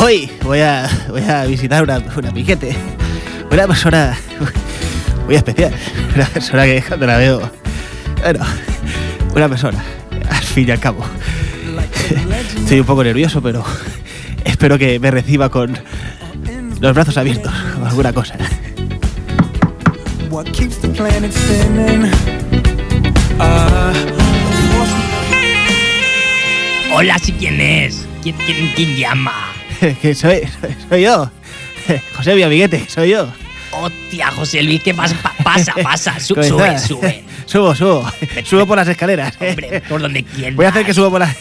Hoy voy a, voy a visitar una, una piquete. Una persona muy especial. Una persona que cuando la veo. Bueno, una persona, al fin y al cabo. Estoy un poco nervioso, pero espero que me reciba con los brazos abiertos o alguna cosa. What keeps the planet spinning? Uh, what's- Hola, ¿sí quién es? ¿Quién, quién, quién llama? Que soy, soy, soy yo. José mi amiguete, soy yo. Hostia, José Luis, ¿qué pasa? Pa- pasa, pasa, su- ¿Cómo sube, estás? sube. Subo, subo. Subo por las escaleras. Hombre, por donde quieras. Voy a hacer que suba por la.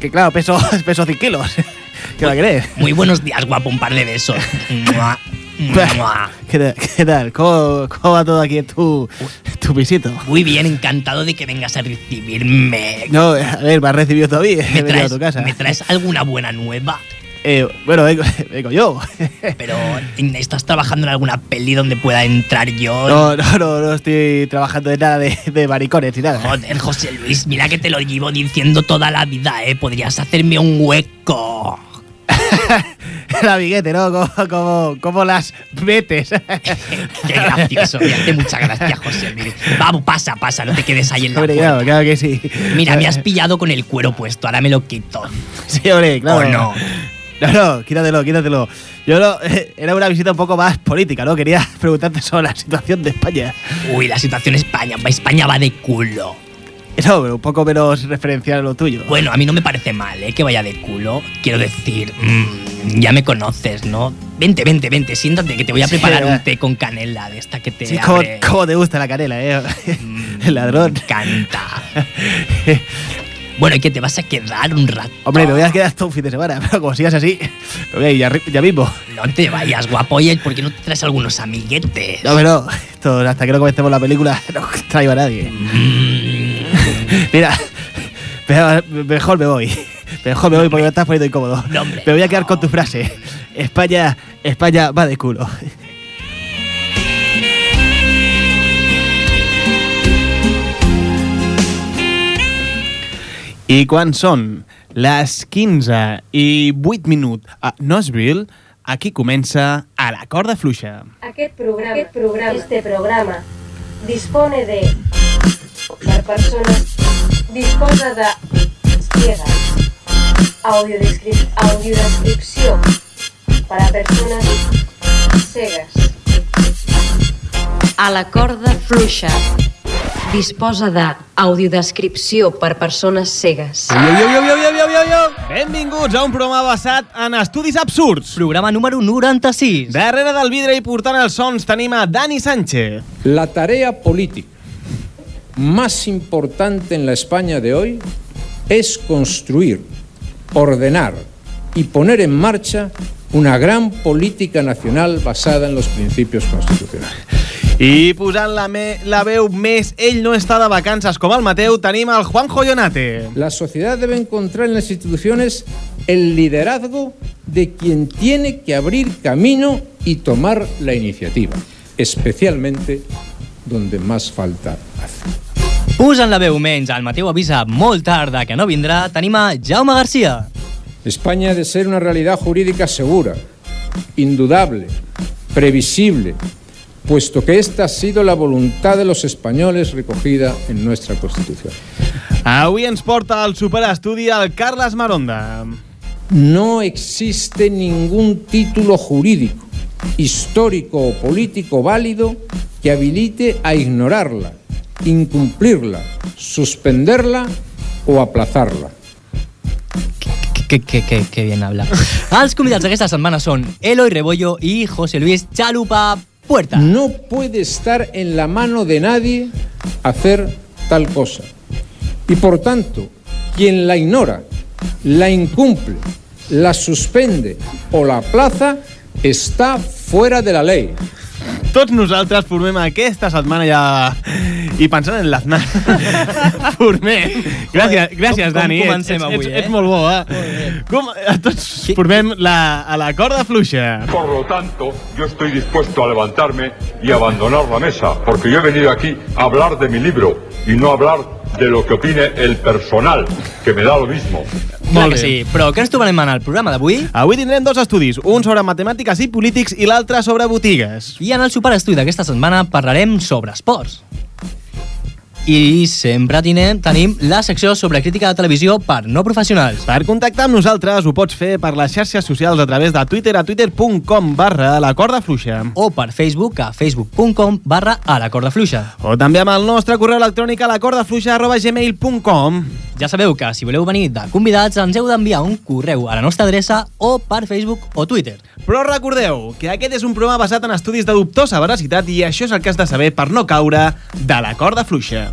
Que claro, peso, peso 100 kilos. ¿Qué va a creer? Muy buenos días, guapo, un par de besos. Mua, mua. ¿Qué tal? ¿Qué tal? ¿Cómo, cómo va todo aquí en tu, tu pisito? Muy bien, encantado de que vengas a recibirme. No, a ver, me has recibido todavía. He ¿Me venido a traes, tu casa. ¿Me traes alguna buena nueva? Eh, bueno, vengo, vengo yo. Pero, ¿estás trabajando en alguna peli donde pueda entrar yo? No, no, no, no estoy trabajando de nada de, de maricones ni nada. Joder, José Luis, mira que te lo llevo diciendo toda la vida, ¿eh? Podrías hacerme un hueco. El amiguete, ¿no? Como, como, como las metes. Qué gracioso, me hace mucha gracia, José Luis. Vamos, pasa, pasa, no te quedes ahí en la Hombre, puerta. claro, claro que sí. Mira, me has pillado con el cuero puesto, ahora me lo quito. Sí, hombre, claro. ¿O no? No, no, quítatelo, quítatelo. Yo no, era una visita un poco más política, ¿no? Quería preguntarte sobre la situación de España. Uy, la situación en España, España va de culo. No, pero un poco menos referencial a lo tuyo. Bueno, a mí no me parece mal, ¿eh? Que vaya de culo. Quiero decir, mm, ya me conoces, ¿no? Vente, vente, vente, siéntate que te voy a Sí, preparar un ¿verdad? té con canela de esta que te Sí, ¿cómo, abre. cómo te gusta la canela, eh? Mm, El ladrón. Me encanta. bueno, ¿y qué te vas a quedar un rato? Hombre, me voy a quedar todo un fin de semana, pero como sigas así, me voy a ir ya, ri- ya mismo. No te vayas, guapo. Oye, ¿por qué no te traes algunos amiguetes? No, pero esto, hasta que no comencemos la película, no traigo a nadie. Mm, Mira, me- mejor me voy. Mejor me voy porque me estás poniendo incómodo. No, hombre, me voy a quedar con no. tu frase. España, España va de culo. I quan són les 15 i 8 minuts a Knoxville, aquí comença a la corda fluixa. Aquest programa, aquest programa, este programa, dispone de... Per persona, disposa de... Ciega. Audiodescrip, audiodescripció. Para persones cegues. A la corda fluixa. Disposa de audiodescripció per persones cegues. Yo, yo, yo, yo, yo, yo, yo, yo. Benvinguts a un programa basat en estudis absurds. Programa número 96. Darrere del vidre i portant els sons tenim a Dani Sánchez. La tarea política más importante en la España de hoy es construir, ordenar y poner en marcha una gran política nacional basada en los principios constitucionales. I posant la, me la veu més ell no està de vacances com el Mateu, tenim el Juanjo Jonate. La sociedad debe encontrar en las instituciones el liderazgo de quien tiene que abrir camino y tomar la iniciativa, especialmente donde más falta hace. Posant la veu menys, el Mateu avisa molt tard que no vindrà, tenim a Jaume Garcia. España ha de ser una realidad jurídica segura, indudable, previsible, puesto que esta ha sido la voluntad de los españoles recogida en nuestra Constitución. Avui ens porta al superestudi el Carles Maronda. No existe ningún título jurídico, histórico o político válido que habilite a ignorarla, incumplirla, suspenderla o aplazarla. Que, que, que, que bien habla. Els convidats d'aquesta setmana són Eloi Rebollo i José Luis Chalupa Puerta. Mm, No puede estar en la mano de nadie hacer tal cosa. Y por tanto, quien la ignora, la incumple, la suspende o la aplaza, está fuera de la ley. Tots nosaltres formem aquesta setmana ja i pensant en l'Aznar. Formem. Gràcies, gràcies com Dani. Ets, comencem ets, avui, ets, eh? ets molt bo, eh? Com, a tots formem la, a la corda fluixa. Por lo tanto, yo estoy dispuesto a levantarme y abandonar la mesa, porque yo he venido aquí a hablar de mi libro y no a hablar de lo que opine el personal, que me da lo mismo. Clar Molt bé. que sí, però què ens trobarem en el programa d'avui? Avui tindrem dos estudis, un sobre matemàtiques i polítics i l'altre sobre botigues. I en el superestudi d'aquesta setmana parlarem sobre esports. I sempre tenim, tenim la secció sobre crítica de televisió per no professionals. Per contactar amb nosaltres ho pots fer per les xarxes socials a través de Twitter a twitter.com barra la corda fluixa. o per Facebook a facebook.com barra a la corda fluixa. O també amb el nostre correu electrònic a la corda fluixa arroba gmail.com. Ja sabeu que si voleu venir de convidats ens heu d'enviar un correu a la nostra adreça o per Facebook o Twitter. Però recordeu que aquest és un programa basat en estudis de dubtosa veracitat i això és el que has de saber per no caure de la corda fluixa.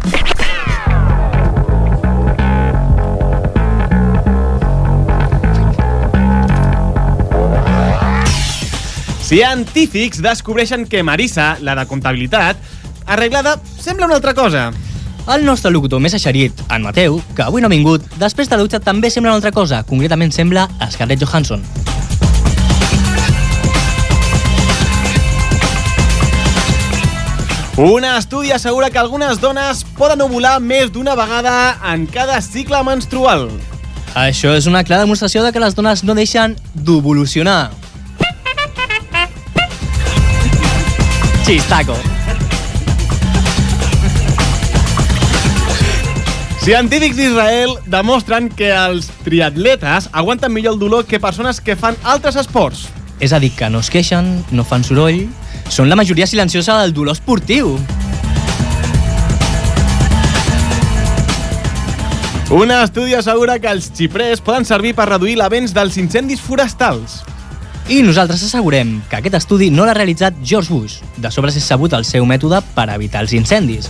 Científics descobreixen que Marisa, la de comptabilitat, arreglada, sembla una altra cosa. El nostre locutor més eixerit, en Mateu, que avui no ha vingut, després de la dutxa també sembla una altra cosa, concretament sembla Scarlett Johansson. Un estudi assegura que algunes dones poden ovular més d'una vegada en cada cicle menstrual. Això és una clara demostració de que les dones no deixen d'evolucionar. Chistaco. Científics d'Israel demostren que els triatletes aguanten millor el dolor que persones que fan altres esports. És a dir, que no es queixen, no fan soroll, són la majoria silenciosa del dolor esportiu. Un estudi assegura que els xiprers poden servir per reduir l'avenç dels incendis forestals. I nosaltres assegurem que aquest estudi no l'ha realitzat George Bush. De sobre s'és sabut el seu mètode per evitar els incendis.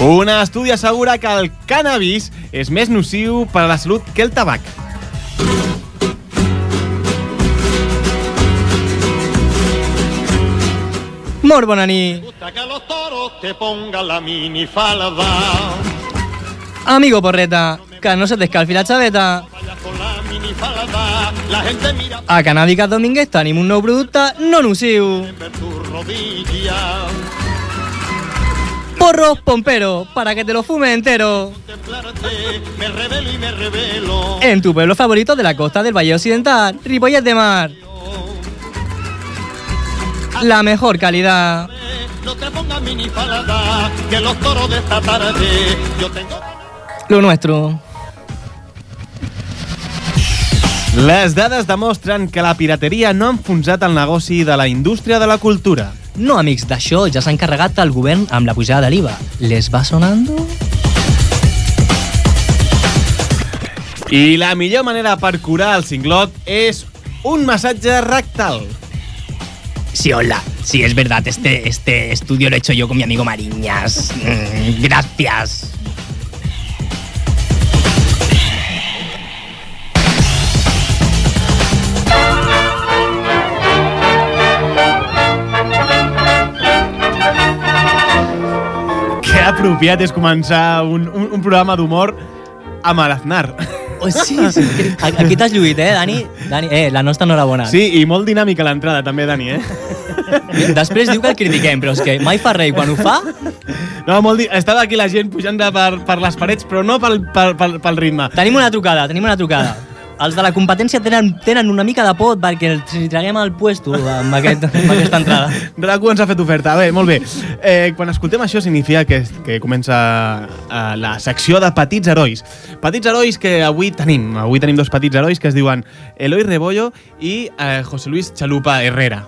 Un estudi assegura que el cannabis és més nociu per a la salut que el tabac. Molt bona nit, Que los toros te pongan la minifalda. amigo porreta, que no se t'escalfi la xaveta. Vaya con la minifalda. La gente mira A Canàbica Dominguez tenim un nou producte no nociu. ver tus rodillas. Porros Pompero, para que te lo fume entero. Templarte, me revelo y me revelo. En tu pueblo favorito de la costa del Valle Occidental, Ripollet de Mar. La mejor calidad. No te pongas minifalda. Que los toros de esta tarde. Yo tengo. Lo nuestro. Les dades demostren que la pirateria no ha enfonsat el negoci de la indústria de la cultura. No, amics, d'això ja s'ha encarregat el govern amb la pujada de l'IVA. Les va sonando? I la millor manera per curar el cinglot és un massatge rectal. Sí, hola. Sí, es verdad. Este, este estudio lo he hecho yo con mi amigo Mariñas. Mm, gracias. Que apropiat és començar un, un, un programa d'humor amb l'Aznar. Oh, sí, sí. Aquí t'has lluit, eh, Dani? Dani eh, la nostra enhorabona. Sí, i molt dinàmica l'entrada també, Dani, eh? Després diu que el critiquem, però és que mai fa rei quan ho fa. No, molt di... Estava aquí la gent pujant de per, per les parets, però no pel, pel, pel, pel ritme. Tenim una trucada, tenim una trucada. Els de la competència tenen, tenen una mica de por perquè els hi traguem el puesto amb, aquest, amb aquesta entrada. Dracu ens ha fet oferta. Bé, molt bé. Eh, quan escoltem això significa que, que comença eh, la secció de petits herois. Petits herois que avui tenim. Avui tenim dos petits herois que es diuen Eloi Rebollo i eh, José Luis Chalupa Herrera.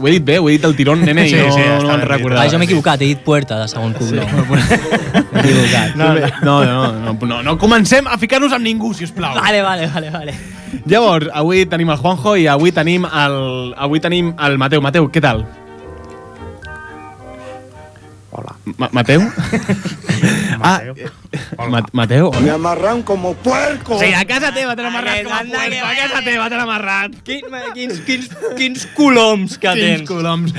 Ho he dit bé, ho he dit el tirón, nene, Sí, i no, sí, està no me'n ben dit. recordava. Ah, jo m'he equivocat, he dit puerta de segon cognom. Sí. M'he equivocat. No, no, no, no, no, no comencem a ficar-nos amb ningú, si us plau. Vale, vale, vale, vale. Llavors, avui tenim el Juanjo i avui tenim el, avui tenim el Mateu. Mateu, què tal? Hola. Ma Mateu? Mateu. Ah, Ma Mateu? Hola. amarran como puerco. Sí, a casa teva te l'ha amarrat com a puerco. A casa teva te l'ha amarrat. Quins, quins, quins, quins coloms que Quins coloms.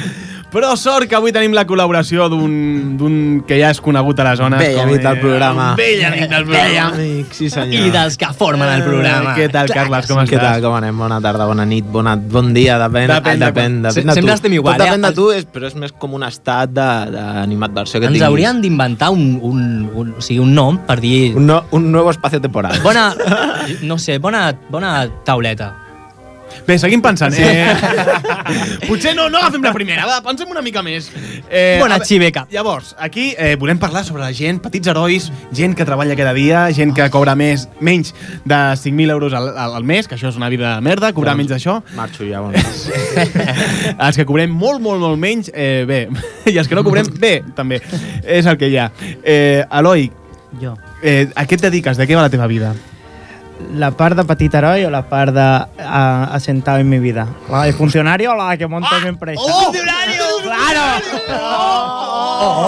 Però sort que avui tenim la col·laboració d'un d'un que ja és conegut a la zona. Vell com amic del era- programa. Vell amic del programa. amic, sí senyor. I dels que formen el programa. Eh, Què tal, Clar Carles? que Com Què estàs? tal, com anem? Bona tarda, bona nit, bona, bon dia, depèn, depèn, Depèn de- depèn, Se- depèn de tu. sempre estem igual, Tot eh? depèn de Els- tu, és, però és més com un estat de- d'animadversió que Ens tinguis. haurien d'inventar un, un, un, o sigui, un nom per dir... Un, no, un nuevo espacio temporal. Bona, no sé, bona, bona tauleta. Bé, seguim pensant. Eh, potser no, no agafem la primera, va, pensem una mica més. Eh, Bona a ve- xiveca. Llavors, aquí eh, volem parlar sobre la gent, petits herois, gent que treballa cada dia, gent que cobra més, menys de 5.000 euros al, al, al mes, que això és una vida de merda, cobrar menys d'això. Marxo ja, bona nit. els que cobrem molt, molt, molt menys, eh, bé. I els que no cobrem, bé, també. És el que hi ha. Eh, Eloi, Jo. eh, a què et dediques? De què va la teva vida? La part de petit heroi o la part de uh, assentat en mi vida? La de funcionari o la que monta mi empresa? ¡Oh! ¡Claro!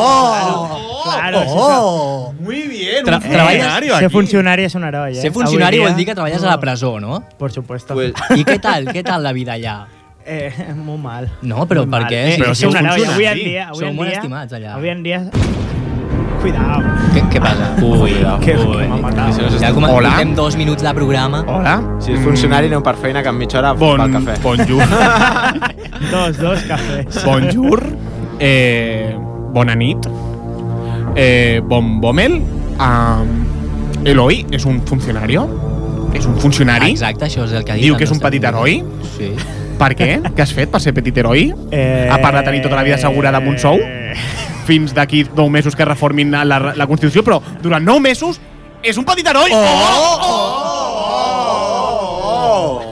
Claro, si Oh! Muy bien, Tra- treballes, Ser funcionari és un heroi, eh? ser funcionari Avui vol dia- dir que treballes a la presó, no? Por supuesto. Pues, I què tal? Què tal la vida allà? Eh, molt mal. No, però per què? Eh, Si però sou ser un heroi, funcionaris. avui en dia... Avui Sou en molt dia, estimats allà. Avui en dia... Cuidao. Què, què passa? Ui, Que, que m'ha matat. ja com Hola? Hola? dos minuts de programa. Hola? Si ets funcionari, aneu per feina, que en mitja hora Bon, fa el cafè. bonjour. Dos, dos cafès. Bonjour. Eh, bona nit. Eh, bon Bommel. Um, Eloi és un funcionario. És un funcionari. Exacte, això és el que ha dit. Diu el que és un nostre petit amic. Sí. Per què? Què has fet per ser petit heroi? Eh, A part de tenir tota la vida assegurada amb un sou? Fins d'aquí nou mesos que reformin la, la Constitució, però durant nou mesos és un petit heroi! Oh!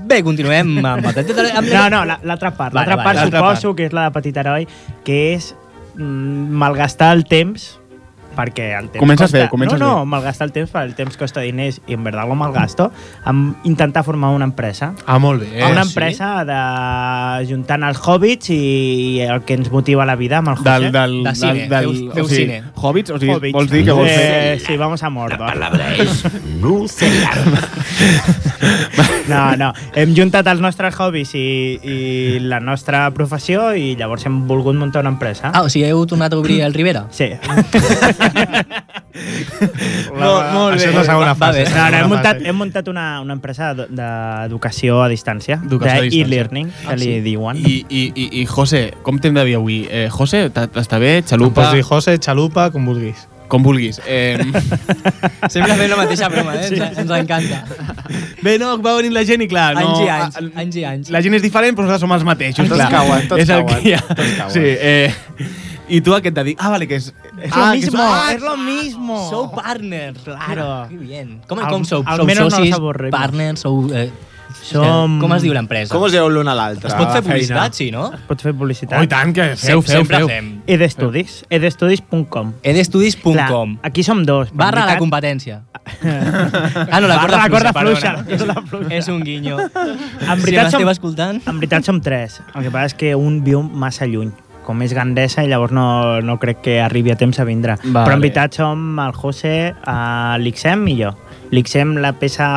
Bé, continuem amb el... amb- No, no, la- l'altra part. Vale, L'altra vale, part l'altra suposo que és la de petit heroi, que és mm, malgastar el temps perquè el temps Comences costa... bé, comences no, no, bé. malgastar el temps perquè el temps costa diners i en verdad lo malgasto amb intentar formar una empresa. Ah, molt bé. una sí? empresa de juntant els hobbits i el que ens motiva la vida amb el José. Del, del, De cine, del, del, feu- feu o sigui, cine. Hobbits? O sigui, Hobbits. vols dir que vols fer... Eh, sí, vamos a Mordor. es No, no. Hem juntat els nostres hobbies i, i la nostra professió i llavors hem volgut muntar una empresa. Ah, o sigui, heu tornat a obrir el Rivera? Sí. Molt- molt Això bé. és la segona Va bé. fase. No, no, hem Segona muntat, fase. hem muntat una, una empresa d- d'educació a distància, Educació a distància. Ah, d'e-learning, que li diuen. I, i, i, i José, com t'hem de dir avui? Eh, José, t'ha- t'està bé? Xalupa? José, xalupa, com vulguis. Com vulguis. Eh, Sempre fem la mateixa broma, eh? Ens, ens encanta. bé, no, va venir la gent i clar... No, anys i anys, a- a- anys i anys. La gent és diferent, però nosaltres som els mateixos. Tots clar. cauen, tots és el cauen, que hi ha. tots cauen. Sí, eh, I tu a què et dediques? Ah, vale, que és... Es ah, lo que mismo, sou- ah, es lo mismo. Sou partner. Claro. Ah, Que bien. Com, Al- com sou? Sou almenys no socis, nos avorrim. partner, sou... Eh, Som- Com es diu l'empresa? Com us dieu l'un a l'altre? Es pot fer Feina. publicitat, sí, no? Pots fer Oh, i publicitat. tant, que feu, feu, Sempre feu. fem. edestudis, edestudis.com. Clar, edestudis.com Aquí som dos. però Barra en la veritat- competència. ah, no, la corda, Barra la corda fluixa, fluixa, perdona. la corda fluixa. És un guinyo. En si veritat, m'esteu som, escoltant... en veritat som tres. El que passa és que un viu massa lluny com és gandesa i llavors no, no crec que arribi a temps a vindre. Vale. Però en veritat som el José, eh, l'Ixem i jo. L'Ixem, la peça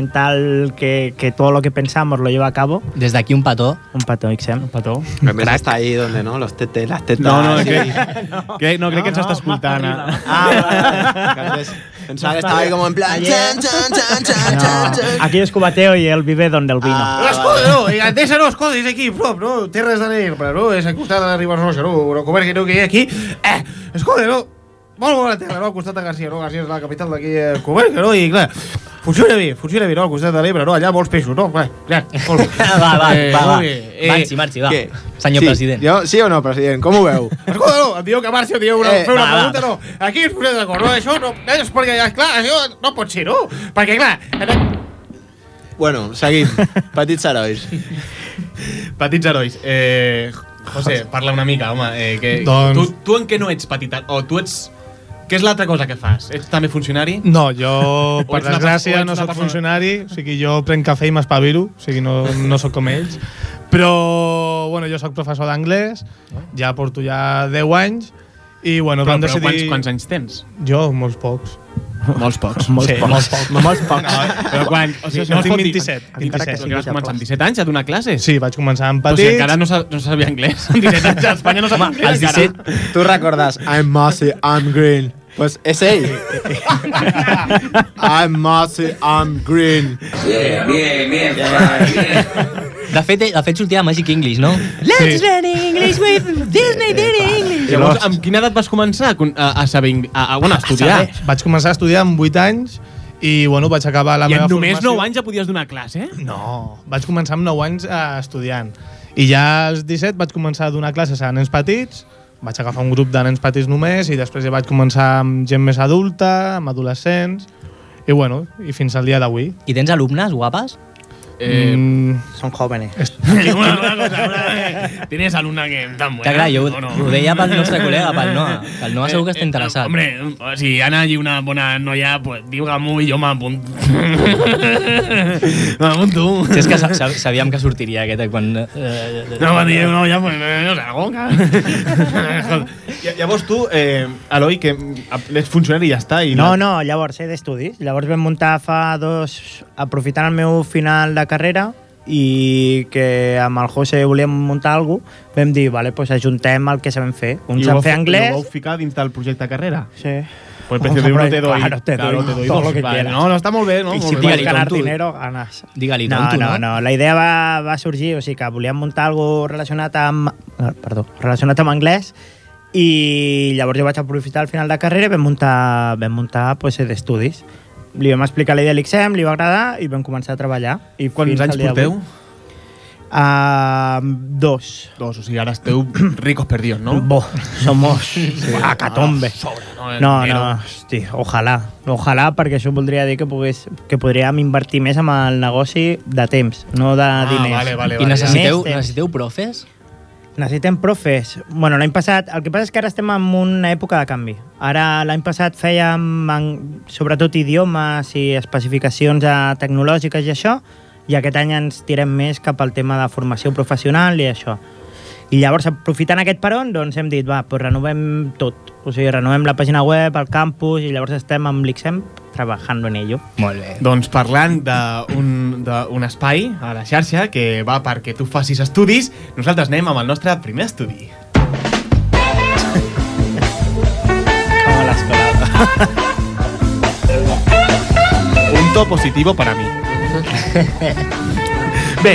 fonamental que, que tot lo que pensamos lo lleva a cabo. Des d'aquí un petó. Un petó, Ixem. Un petó. A més, està ahí donde, no? Los tetes, las tetas. No, no, sí. que, que, no, crec que ens està escoltant. eh? Ah, vale. Que antes Pensaba que estaba ahí como en plan... Chan, chan, chan, chan, chan, No. chan. Aquí es cubateo i el vive donde el vino. Ah, Ah. vale. no, Gandesa no, escolta, és aquí, prop, no, Terres de l'Ebre, no, és al costat de la Ribanosa, no, no, comerç que no, que hi ha aquí, eh, escolta, no, molt bona terra, no, al costat de Garcia, no, Garcia és la capital d'aquí, eh, comerç que no, i clar, funciona bé, funciona bé, no, al costat de l'Ebre, no, allà molts peixos, no, clar, clar, molt bé. va, va, Eh, va, va. molt bé, eh, marxi, marxi, va. Què? Senyor sí, president. Jo, sí o no, president? Com ho veu? Escolta, no, em dieu que marxi, em dieu una, Eh, eh, fer una va, va. pregunta, no. Aquí ens posem d'acord, no? Això no, és perquè, clar, això no pot ser, no? Perquè, clar, en- bueno, seguim. Petits herois. Petits herois. Eh, José, parla una mica, home. Eh, que, Doncs- tu, tu en què no ets petit? eh, O tu ets... Què és l'altra cosa que fas? Ets també funcionari? No, jo, O per ets una perso- o desgràcia, ets no una sóc persona- funcionari, o sigui, jo prenc cafè i m'espaviro, o sigui, no, no sóc com ells. Però, bueno, jo sóc professor d'anglès, ja porto ja 10 anys, i, bueno, Però, vam però decidir... quants, quants anys tens? Jo, molts pocs. Molts pocs. Molts pocs. Molts pocs. No, però quan, o sigui, No, no, tinc 27. 27, 27. 27. Que vas començar amb 17 anys a donar classes? Sí, vaig començar amb Però petits. si encara no, sa- no sabia anglès. Amb 17 anys a Espanya no sabia anglès encara. Tú recordas, I'm mossy, I'm green. Pues es él. I'm mossy, I'm green. Bien, bien, bien, De fet, eh, de fet sortia a Magic English, no? Let's learn English with Disney Diddy English. Llavors, amb quina edat vas començar a, con- a, a saber ing- a, a, bueno, a estudiar? Saber. Vaig començar a estudiar amb 8 anys i bueno, vaig acabar la I meva amb només formació. 9 anys ja podies donar classe? eh? No, vaig començar amb 9 anys eh, estudiant. I ja als 17 vaig començar a donar classes a nens petits, vaig agafar un grup de nens petits només i després ja vaig començar amb gent més adulta, amb adolescents, i bueno, i fins al dia d'avui. I tens alumnes guapes? Eh, Són jóvenes. Tienes alumna que tan buena. Ja, clar, jo ho, No, no. ho deia pel nostre col·lega, pel Noah. Que el Noah segur que està interessat. Hombre, pues, si Ana y una buena noia, pues diga muy, yo me apunto. M'apunto. Si és que sa- sa- sabíem que sortiria aquesta quan... Eh, No, quan digueu no, ja, pues, eh, no salgo, cabrón. Llavors tu, eh, Eloi, que és funcionari i ja està. I No, no, llavors he d'estudis. Llavors vam muntar fa dos... Aprofitant el meu final de carrera i que amb el José volíem muntar alguna cosa, vam dir, vale, pues ajuntem el que sabem fer. Un sap fer I ho anglès... vau ficar dins del projecte carrera? Sí. Pues precio Hombre, no te doy. Claro, te doy, Claro, te doy todo dos. lo que Vale, quieras. No, no, está muy bien, ¿no? I si Molt bé. vols ganar dinero, ganas. Digue-li no, tonto, no, no, la idea va, va sorgir, o sigui que volíem muntar alguna cosa relacionat amb... eh, Perdó, relacionat amb anglès i llavors jo vaig aprofitar al final de carrera i vam muntar, vam muntar pues, eh, d'estudis. Li vam explicar la idea a l'XM, li va agradar i vam començar a treballar. I Quants fins anys al dia porteu? d'avui. Ah, dos. Dos, o sigui, ara esteu ricos perdidos, no? Bo, somos ah, a catombe. No, no, hosti, ojalà. Ojalà, perquè això voldria dir que, pogués, que podríem invertir més amb el negoci de temps, no de Ah, diners. vale, vale, I vale. necessiteu- Més temps. necessiteu profes? Necessitem profes. bueno, l'any passat... El que passa és que ara estem en una època de canvi. Ara, l'any passat fèiem en- sobretot idiomes i especificacions eh, tecnològiques i això, i aquest any ens tirem més cap al tema de formació professional i això. I llavors, aprofitant aquest peron, doncs hem dit, va, doncs renovem tot. O sigui, renovem la pàgina web, el campus, i llavors estem amb l'IXEM E treballant en ello. Molt bé. Doncs parlant d'un d'un espai a la xarxa que va perquè tu facis estudis, nosaltres anem amb el nostre primer estudi. Com a l'escola. Un to positivo para mí. Bé,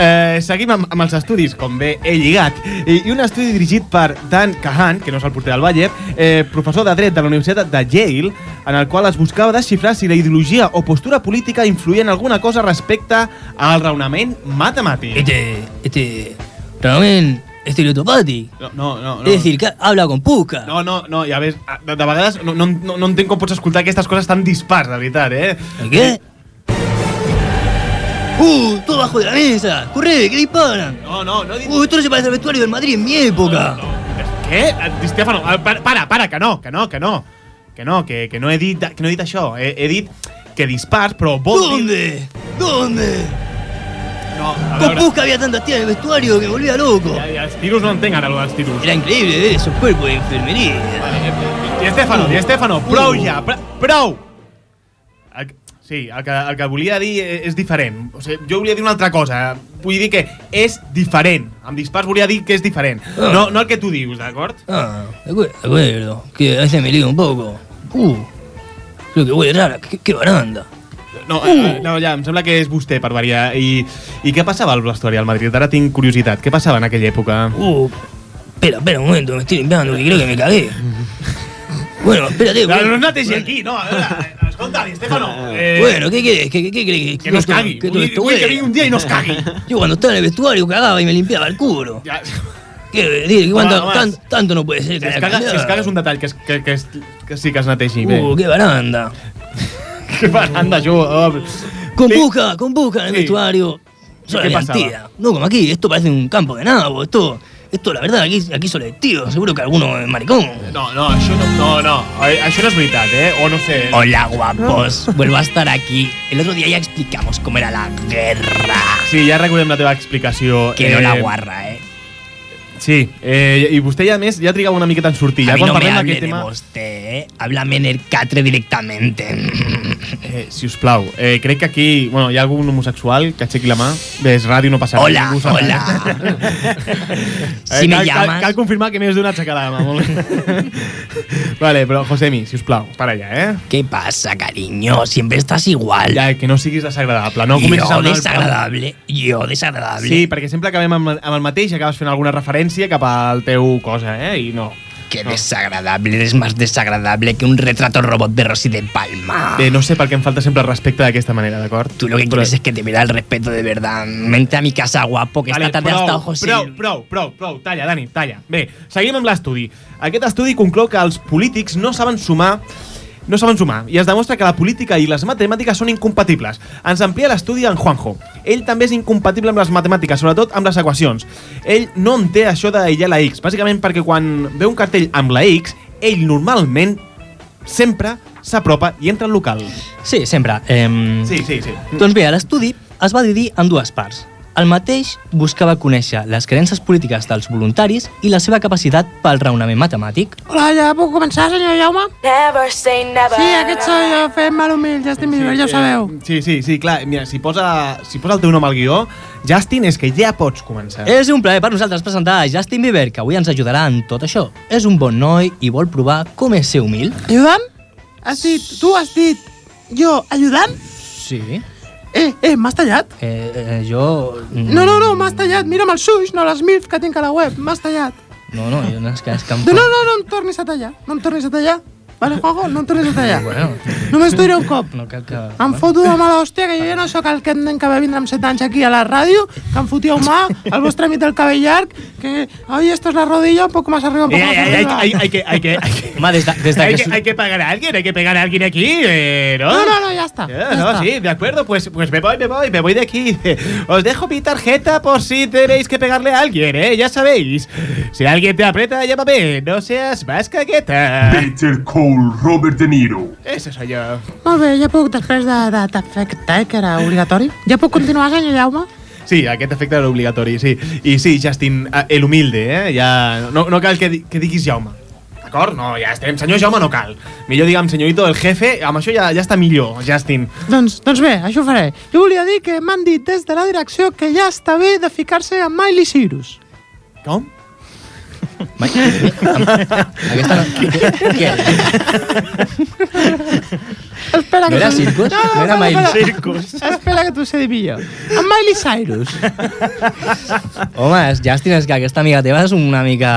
eh, seguim amb, amb els estudis, com bé he lligat. I, I un estudi dirigit per Dan Kahan, que no és el porter del Bayer, eh, professor de dret de la Universitat de Yale, en el qual es buscava desxifrar si la ideologia o postura política influïa en alguna cosa respecte al raonament matemàtic. Este, este raonament estereotopàtic. No, no, no. És dir, que habla con puca. No, no, no, ja ves, de, de vegades no, no, no, no entenc com pots escoltar aquestes coses tan dispars, de veritat, eh? Què? ¡Uh! ¡Todo bajo de la mesa! ¡Corre! ¡Que disparan! No, no, no ¡Uh! Esto no se parece al vestuario del Madrid en mi época. Què? Di Stefano, eh, para, para, para, que no, que no, que no. Que no, que, que no he dit, que no he dit això. He, he dit que dispars, però vol dir... ¿Dónde? ¿Dónde? No, a Con veure, puca había tantas tías en el vestuario que me volvía loco. ja, els tiros no entenc ara, els tiros. Era increíble ver esos cuerpos de enfermería. Di Stefano, Di Stefano, prou ja, pr- prou! El, que- sí, el que, el que volia dir eh, és diferent. O sigui, jo volia dir una altra cosa. Vull dir que és diferent. Amb dispars volia dir que és diferent. No, no el que tu dius, d'acord? Ah, de acuerdo, de acuerdo. Que a veces me lío un poco. Uh, creo que huele rara. Qué, qué baranda. No, eh, no, ja, em sembla que és vostè, per variar. I, i què passava al vestuari al Madrid? Ara tinc curiositat. Què passava en aquella època? Uh, espera, espera un momento, me estoy limpiando que creo que me cagué. Bueno, espérate. No, bueno, no, no te aquí, no. a veure, eh, Escolta, Di Stefano. Ah, Eh, Bueno, ¿qué querés? ¿Qué, qué, qué querés? Que nos todo- cague. todo Uy, esto uy, que huele? venga un día y nos cague. Yo cuando estaba en el vestuario cagaba y me limpiaba el culo. Ya. ¿Qué, dile, cuánto- Nada más. tan- tanto no puede ser Si que es haya caga, si es cambiado. caga és un detall que, es, que, que, es, que sí que es neteixi bé. Uh, qué baranda. Que baranda, jo. Oh. Con buca, con buca en el vestuario. Yo ¿Qué la pasaba? mentira. No, como aquí, esto parece un campo de nabo. Esto, esto la verdad, aquí, aquí solo hay tío. Seguro que alguno es maricón. No, no, això no, no, no. Eh, Això no és veritat, eh? O no sé. Hola, guapos. Vuelvo a estar aquí. El otro día ya explicamos cómo era la guerra. Sí, ja recordem la teva explicació. eh. Que no la guarra, eh. Sí, eh, i vostè ja, a més, ja trigava una miqueta en sortir. A Ja mí quan no me parlem hable d'aquest de tema... vostè, eh. Háblame en el catre directamente. Eh, si us plau, eh, crec que aquí... Bueno, hi ha algun homosexual que aixequi la mà? Bé, és ràdio, no passa res. Hola, ningú sap res. hola. Eh, Si me cal, cal, llamas- cal confirmar que més d'una aixecada de mà. Molt bé. vale, però, Josemi, si us plau, para allà, eh? Què passa, cariño? Siempre estàs igual. Ja, que no siguis desagradable. No Jo comencis amb el- desagradable, jo desagradable. Sí, perquè sempre acabem amb, amb el mateix i acabes fent alguna referència cap al teu cosa, eh? I no. Qué desagradable, eres más desagradable que un retrato robot de Rosy de Palma. Bé, no sé per què em falta sempre el respecte d'aquesta manera, d'acord? Ah. Tu lo que quieres es que te vea el respeto de verdad. Vente a mi casa, guapo, que esta tarde ha estado José. Prou, prou, prou, prou, talla, Dani, talla. Bé, seguim amb l'estudi. Aquest estudi conclou que els polítics no saben sumar no saben sumar i es demostra que la política i les matemàtiques són incompatibles. Ens amplia l'estudi en Juanjo. Ell també és incompatible amb les matemàtiques, sobretot amb les equacions. Ell no entén això d'aïllar la X, bàsicament perquè quan veu un cartell amb la X, ell normalment sempre s'apropa i entra al local. Sí, sempre. Em... Sí, sí, sí. Doncs bé, l'estudi es va dividir en dues parts. El mateix buscava conèixer les creences polítiques dels voluntaris i la seva capacitat pel raonament matemàtic. Hola, ja puc començar, senyor Jaume? Never say never. Sí, aquest soy jo, fent mal humil, Justin Bieber, ja ho sabeu. Sí, sí, sí, clar. Mira, si posa, si posa el teu nom al guió, Justin, és que ja pots començar. És un plaer per nosaltres presentar a Justin Bieber, que avui ens ajudarà en tot això. És un bon noi i vol provar com és ser humil. Ajuda'm? Has dit, tu has dit, jo, ajuda'm? Sí. Eh, eh, m'has tallat? Eh, eh, jo... No, no, no, m'has tallat, mira'm els ulls, no les milf que tinc a la web, m'has tallat. No, no, jo no és que... És que em No, fa- no, no, no em tornis a tallar, no em tornis a tallar. Vale, Juanjo, no em tornis a tallar. Bueno, Només t'ho diré un cop. no cal que... Em foto de mala hòstia, que jo ja no sóc el que nen que va vindre amb 7 anys aquí a la ràdio, que em fotíeu mà, el vostre mit del cabell llarg, que, ai, esto es la rodilla, un poco más arriba, un poco más arriba. que, hay que, hay que, Home, des de, des de hay que que, hay que pagar a alguien, hay que pegar a alguien aquí, eh, ¿no? No, no, no, ya está. Eh, ya no, está. sí, de acuerdo, pues, pues me voy, me voy, me voy de aquí. Os dejo mi tarjeta por si tenéis que pegarle a alguien, ¿eh? Ya sabéis. Si alguien te aprieta, llámame. No seas más caqueta. Peter Cole, Robert De Niro. Ese soy yo. Molt bé, ja puc, després de, de t'afectar, que era obligatori, ja puc continuar, senyor Jaume? Sí, aquest efecte era obligatori, sí. I sí, Justin, eh, el humilde, eh? Ja, no, no cal que, di que diguis Jaume. D'acord? No, ja estem. Senyor Jaume no cal. Millor digue'm senyorito el jefe. Amb això ja, ja està millor, Justin. Doncs, doncs bé, això ho faré. Jo volia dir que m'han dit des de la direcció que ja està bé de ficar-se amb Miley Cyrus. Com? Aquesta... Què? Espera No era t'ho- Circus? No era Miley Cyrus? Espera que t'ho sé dir millor. Amb Miley Cyrus. Home, és Justin, és que aquesta amiga teva és una mica...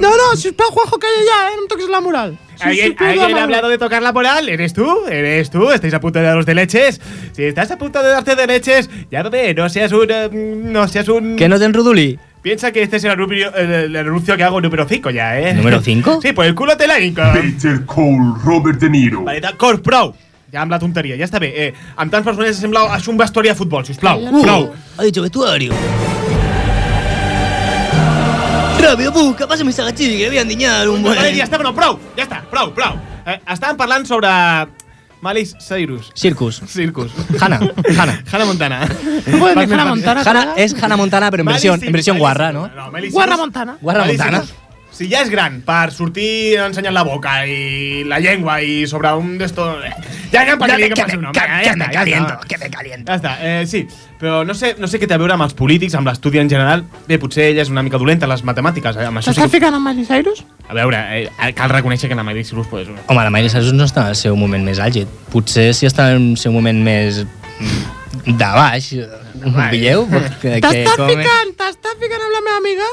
No, no, sisplau, Juanjo, calla ja, eh? No em toquis la moral. Si us ¿Alguien, pido la alguien ha moral. hablado de tocar la moral? ¿Eres tú? ¿Eres tú? ¿Estáis a punto de daros de leches? Si estás a punto de darte de leches, llámame, no seas un... eh, no seas un... Que no te'n rodolí. Piensa que este es el, anuncio- el- el anuncio que hago número 5 ya, ¿eh? ¿Número cinco? Sí, pues el culo te la hinco. Peter Cole, Robert De Niro. Vale, d'acord, prou! Ja amb la tonteria, ja està bé. Eh, amb tants personatges sembla això un vestuari de futbol, sisplau. Uh, Prou. Ha dicho vestuario. Ràbia, busca, passa més agatxí, que li havien dinyat un Vale, buen... ja està, però prou, ja està, prou, prou. Eh, estàvem parlant sobre... Malis Cyrus. Circus. Circus. Hanna, Hanna. Hannah Montana. No podem Vas dir Hannah més Montana, ràpid. Hanna es Hannah Montana, pero en Miley versión, Cyrus, en versión Miley guarra, ¿no? Cyrus. No, Miley Guarra Cyrus- Montana. Guarra Miley Montana. Cyrus, Si ja és gran per sortir ensenyant la boca i la llengua i sobre un d'esto... Eh, Ja anem per Dale, aquí, que que passi me un home. ca- ja, que ja me està, caliento, ja que me caliento. Ja està, eh, sí. Però no sé, no sé què té a veure amb els polítics, amb l'estudi en general. Bé, potser ella és una mica dolenta en les matemàtiques. Eh? Amb això sí T'estàs que... ficant amb Miley Cyrus? A veure, eh, cal reconèixer que la Miley Cyrus pues, és una... Home, la Miley Cyrus no està en el seu moment més àlgid. Potser si està en el seu moment més mm, de baix, ho veieu? Que, que T'estàs com... ficant, t'estàs ficant amb la meva amiga?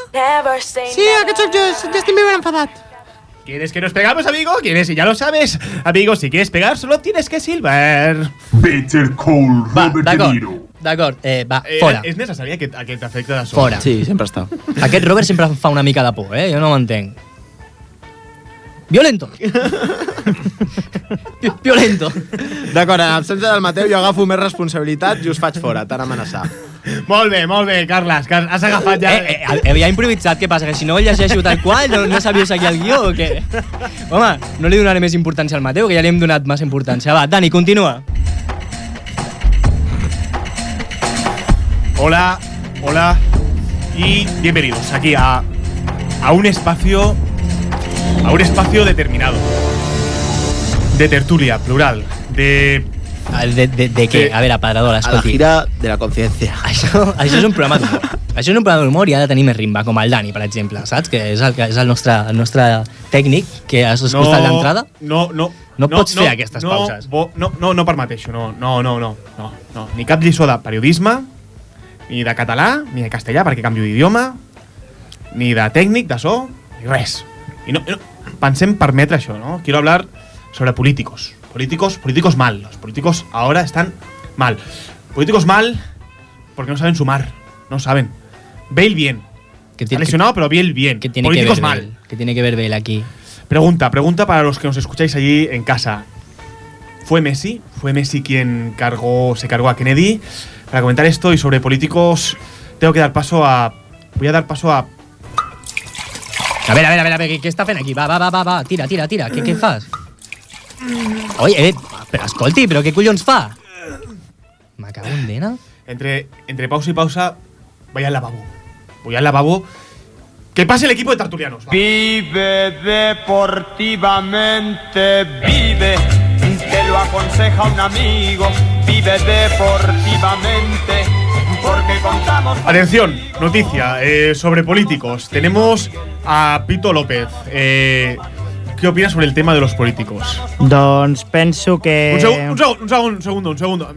Sí, aquest soc jo, Justin Bieber enfadat. ¿Quieres que nos pegamos, amigo? ¿Quieres? Y ya lo sabes. Amigo, si quieres pegar, solo tienes que silbar. Peter Cole, Robert De Niro. D'acord, d'acord, eh, va, Eh, fora. És necessari aquest, aquest efecte de so. Fora. Sí, sempre està. Aquest Robert sempre em fa una mica de por, eh? Jo no ho entenc. Violento. Violento. D'acord, en absència del Mateu jo agafo més responsabilitat i us faig fora, tant amenaçar. Molt bé, molt bé, Carles, que has agafat ja... Eh, eh, havia improvisat, què passa? Que si no el llegeixo tal qual, no, no sabíeu seguir el guió o què? Home, no li donaré més importància al Mateu, que ja li hem donat massa importància. Va, Dani, continua. Hola, hola y bienvenidos aquí a a un espacio. a un espacio determinado. De tertulia, plural. De. ¿De, qué? A veure, apedradora, A la escolti. gira de la consciència. Això, això és un programa d'humor. Això és un programa d'humor i ha de tenir més rimba, com el Dani, per exemple, saps? Que és el, que és el, nostre, el nostre tècnic que has escoltat l'entrada. No, no. No pots fer aquestes no, pauses. Bo, no, no, no permeteixo, no, no, no, no, no, no. Ni cap lliçó de periodisme, ni de català, ni de castellà, perquè canvio d'idioma, ni de tècnic, de so, ni res. I no, no, pensem permetre això, ¿no? Quiero hablar sobre políticos. Políticos, políticos mal. Los políticos ahora están mal. Políticos mal porque no saben sumar. No saben. Bale bien. Está tiene- lesionado, pero Bale bien. Tiene políticos que ver mal. Bale, Que tiene que ver Bale aquí. Pregunta, pregunta para los que nos escucháis allí en casa. ¿Fue Messi? ¿Fue Messi quien cargó, se cargó a Kennedy? Para comentar esto y sobre políticos, tengo que dar paso a. Voy a dar paso a. A ver, a ver, a ver, a ver, què, què està fent aquí? Va, va, va, va, va. tira, tira, tira, què, què fas? Oi, eh, però escolti, però què collons fa? Me cago en dena. Entre, entre pausa y pausa, voy al lavabo. Voy al lavabo. Que pase el equipo de tertulianos. va. Vive deportivamente, vive, te lo aconseja un amigo, vive deportivamente, porque contamos Atención, noticia eh, sobre políticos. Tenemos a Pito López. Eh, ¿Qué opinas sobre el tema de los políticos? Doncs penso que... Un, segun- un segun- un segun- un segundo, un segundo.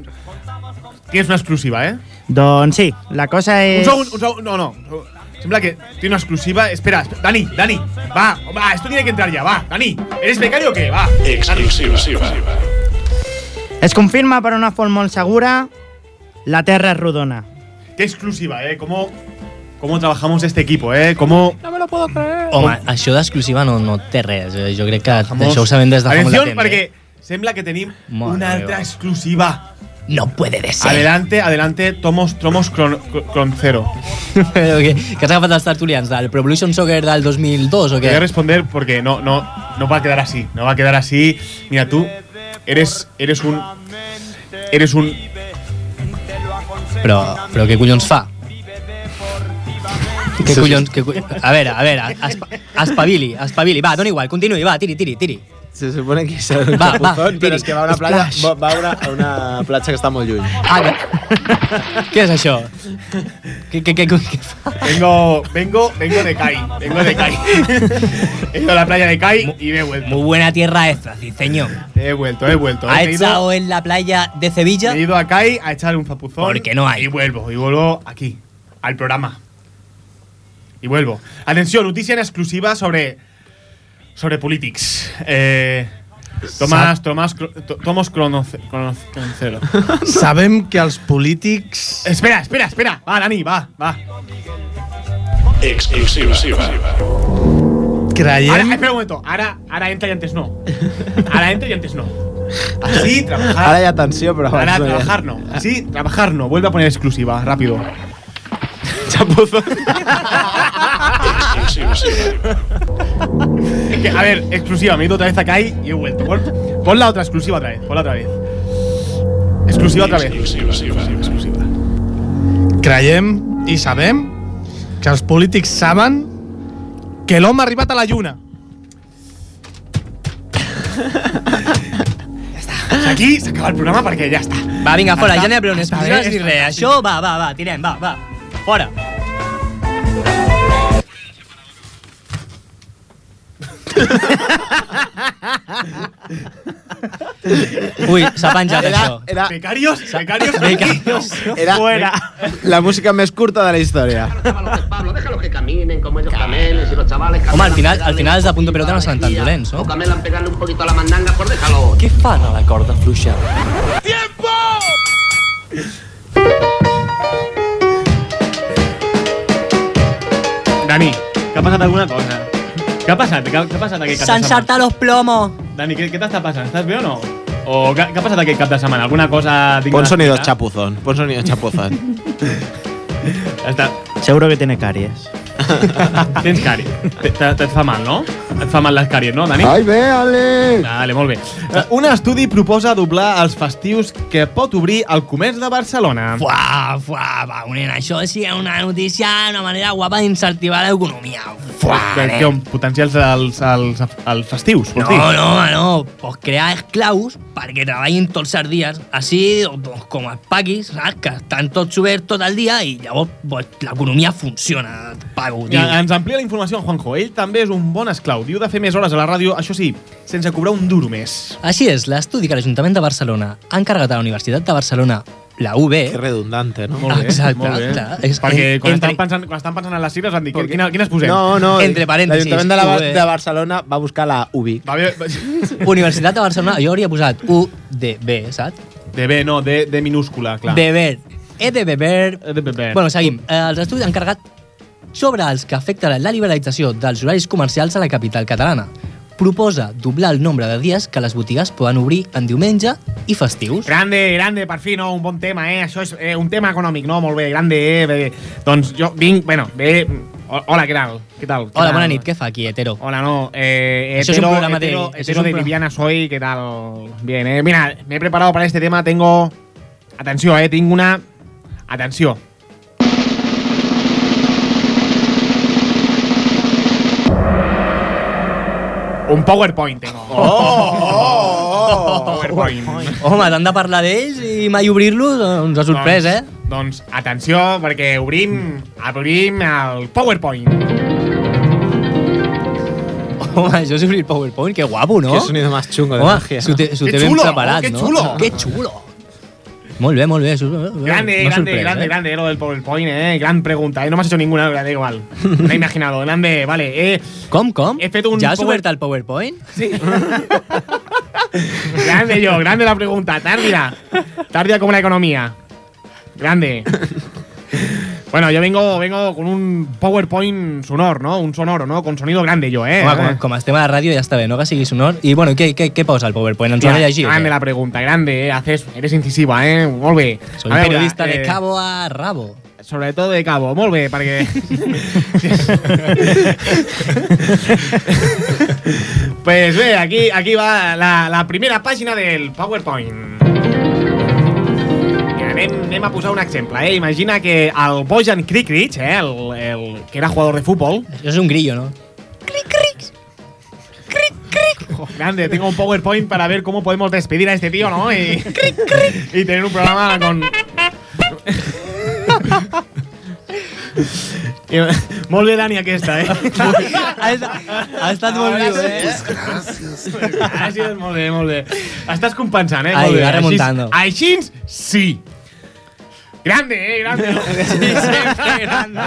Tienes una exclusiva, ¿eh? Doncs sí, la cosa Un és... segundo, un segundo. No, no. un segun. Sembla que tiene una exclusiva. Espera, espera. Dani, Dani. Va, va, esto tiene que entrar ya. Va, Dani. ¿Eres becario o qué? Va. Exclusiva. Es confirma per una font molt segura la Terra és rodona. Qué exclusiva, ¿eh? ¿Cómo, cómo trabajamos este equipo, ¿eh? ¿Cómo. No me lo puedo creer. Home, això d'exclusiva no, no té res. eh, Jo crec que això ho sabem des de fa molt de Atención, temps. eh? porque sembla que tenim Madre una altra meva. exclusiva. No puede de ser. Adelante, adelante, tomos, tromos cron, cron cero. Però que, que has agafat els tertulians del Pro Evolution Soccer del 2002 o Te voy a què? responder porque no, no, no va a quedar así. No va a quedar así. Mira, tú eres, eres un. Eres un. Però, però què collons fa? Què collons... Què co... A veure, a veure, espa, espavili, espavili. Va, dona igual, continuï, va, tiri, tiri, tiri. Se supone que se va, Va, va, bufón, tiri. però és que va a una platja, Splash. va, va a, una, a una platja que està molt lluny. Ah, no. què és això? Què, què, què, què fa? Vengo, vengo, vengo de Kai. Vengo de Kai. he ido a la playa de Kai y me he vuelto. Muy buena tierra esta, sí, señor. He vuelto, he vuelto. Ha He ido- estado en la playa de Sevilla. He ido a Kai a echar un zapuzón. Porque no hay. Y vuelvo, y vuelvo aquí, al programa. Y vuelvo. Atención, noticia en exclusiva sobre. sobre Politics. Eh, Tomás, Tomás, Cro- to- Tomos Cronoce- Cronoce- Cronocero. Sabem que els polítics... espera, espera, espera. Va, Dani, va, va. Exclusiva. Ahora, Creiem... espera un momento. Ahora, ahora entra y antes no. Ahora entra y antes no. Así, trabajar. Ara hi ha tensió, però Ahora abans no hi ha. trabajar no. Así, trabajar no. Vuelve a poner exclusiva, rápido. Chapuzo. Es que, a ver, exclusiva. Me he ido otra vez acá y he vuelto. Pon, pon la otra exclusiva otra vez. Pon la otra vez. Exclusiva otra vez. Exclusiva. Creiem i sabem que els polítics saben que l'home ha arribat a la lluna. Aquí se acaba el programa porque ya está. Va, vinga, fora, Està- ja n'hi ha prou ni està bé, exclusives ni és res. Això, va, va, va, tirem, va, va. Fora. Ui, s'ha penjat Era- això. Ah, Era, Becarios, becarios. Becarios. era la música més curta de la història. que caminen como ellos camelen, si los chavales Home, al final, al final és de punto pelota no seran tan dolents, no? camelan pegarle un poquito a la mandanga, por déjalo. Què fan a la corda fluixa? Dani, ¿qué ha pasado alguna cosa? ¿Qué ha pasado? ¿Qué ha, qué ha pasado aquest cap de S'han setmana? saltat los plomos. Dani, ¿qué, qué te está pasando? ¿Estás bien o no? ¿O qué, qué ha pasado aquest cap de semana? ¿Alguna cosa digna Pon de sonidos explicar? chapuzón, pon sonidos chapuzón. Ya está. Seguro que tiene càries. Tens càries. Te- te- Te't fa mal, no? Et fa mal les càries, no, Dani? Ai, bé, Ale! Vale, molt bé. Eh, Un estudi proposa doblar els festius que pot obrir el comerç de Barcelona. Fuà, fuà, va, nen, això sí és una notícia, una manera guapa d'incentivar l'economia. Que, que on potenciar els, els, els, els festius, vols No, dir? no, no, pues crear esclaus perquè treballin tots els dies, així doncs, com els paquis, saps? que estan tots oberts tot el dia i llavors pues, l'economia funciona, pago, Ja, tio. ens amplia la informació en Juanjo. Ell també és un bon esclau. Diu de fer més hores a la ràdio, això sí, sense cobrar un duro més. Així és, l'estudi que l'Ajuntament de Barcelona ha encarregat a la Universitat de Barcelona, la UB... Que redundante, no? Molt bé, Exacte, molt bé. clar. És- Perquè en- quan, entre- estan pensant, quan estan pensant en les cifres han dit, quines, quines posem? No, no. Entre parèntesis, L'Ajuntament de, la, Ba- UB. de Barcelona va buscar la UBIC. Va bé. Universitat de Barcelona, jo hauria posat UDB, saps? De B, no, de, de minúscula, clar. De ver. He de beber. de beber. Bueno, seguim. Eh, Els estudis han carregat sobre els que afecta la liberalització dels horaris comercials a la capital catalana. Proposa doblar el nombre de dies que les botigues poden obrir en diumenge i festius. Grande, grande, per fi, no? Un bon tema, eh? Això és eh, un tema econòmic, no? Molt bé, grande, eh? Bé. Doncs jo vinc, bueno, bé... ho- Hola, què tal? Què tal? Què Hola, tal? bona nit, què fa aquí, hetero? Hola, no, eh, Eso es un programa de- hetero, eso es hetero un de pro- Liviana soy, ¿qué tal? Bien, eh. Mira, me he preparado para este tema, tengo... Atención, eh, tengo una... Atención. Un PowerPoint tengo. Oh, PowerPoint. Home, t'han de parlar d'ells i mai obrir-los ens ha sorprès, eh? doncs, Doncs atenció, perquè obrim, obrim el PowerPoint. Home, això és obrir PowerPoint, que guapo, no? Qué sonido más chungo de Oh. Home, magia. s'ho té, s'ho Qué té ben chulo, preparat, qué no? chulo. Que xulo! Molt bé, molt bé. Això, Grande, grande, grande, grande, eh, lo del PowerPoint, eh. Gran pregunta, eh. No me has hecho ninguna, pero da igual. Me he imaginado. Grande, vale. Eh, com, com? He fet un Ja has power- obert el PowerPoint? Sí. grande yo, grande la pregunta. Tardía. Tardía como la economía. Grande. Bueno, yo vengo, vengo con un PowerPoint sonor, ¿no? Un sonoro, ¿no? Con sonido grande yo, ¿eh? Home, com, com estem a la ràdio ja està bé, no que sigui sonor. I bueno, què, què, què posa el PowerPoint? Ens ho Mira, han de llegir? o grande què? Ah, la pregunta, grande, eh. Haces, eres incisiva, ¿eh? Molt bé. A Soy un veure, periodista de eh, cabo a rabo. Sobre todo de cabo, molt bé, perquè... pues ve, aquí, aquí va la, la primera pàgina del PowerPoint. Mira, anem, anem a posar un exemple, eh? Imagina que el Bojan Krikric, eh? El, el, que era jugador de futbol... És un grillo, ¿no? Jo, grande, tengo un PowerPoint para ver cómo podemos despedir a este tío, ¿no? Y, y tener un programa con... I, molt bé, Dani, aquesta, eh? ha, estat, ha estat molt viu, eh? Gràcies, molt bé, molt bé. Estàs compensant, eh? Ai, molt bé. va remuntando. Així, així sí. Grande, eh? Grande. Sí, sempre grande.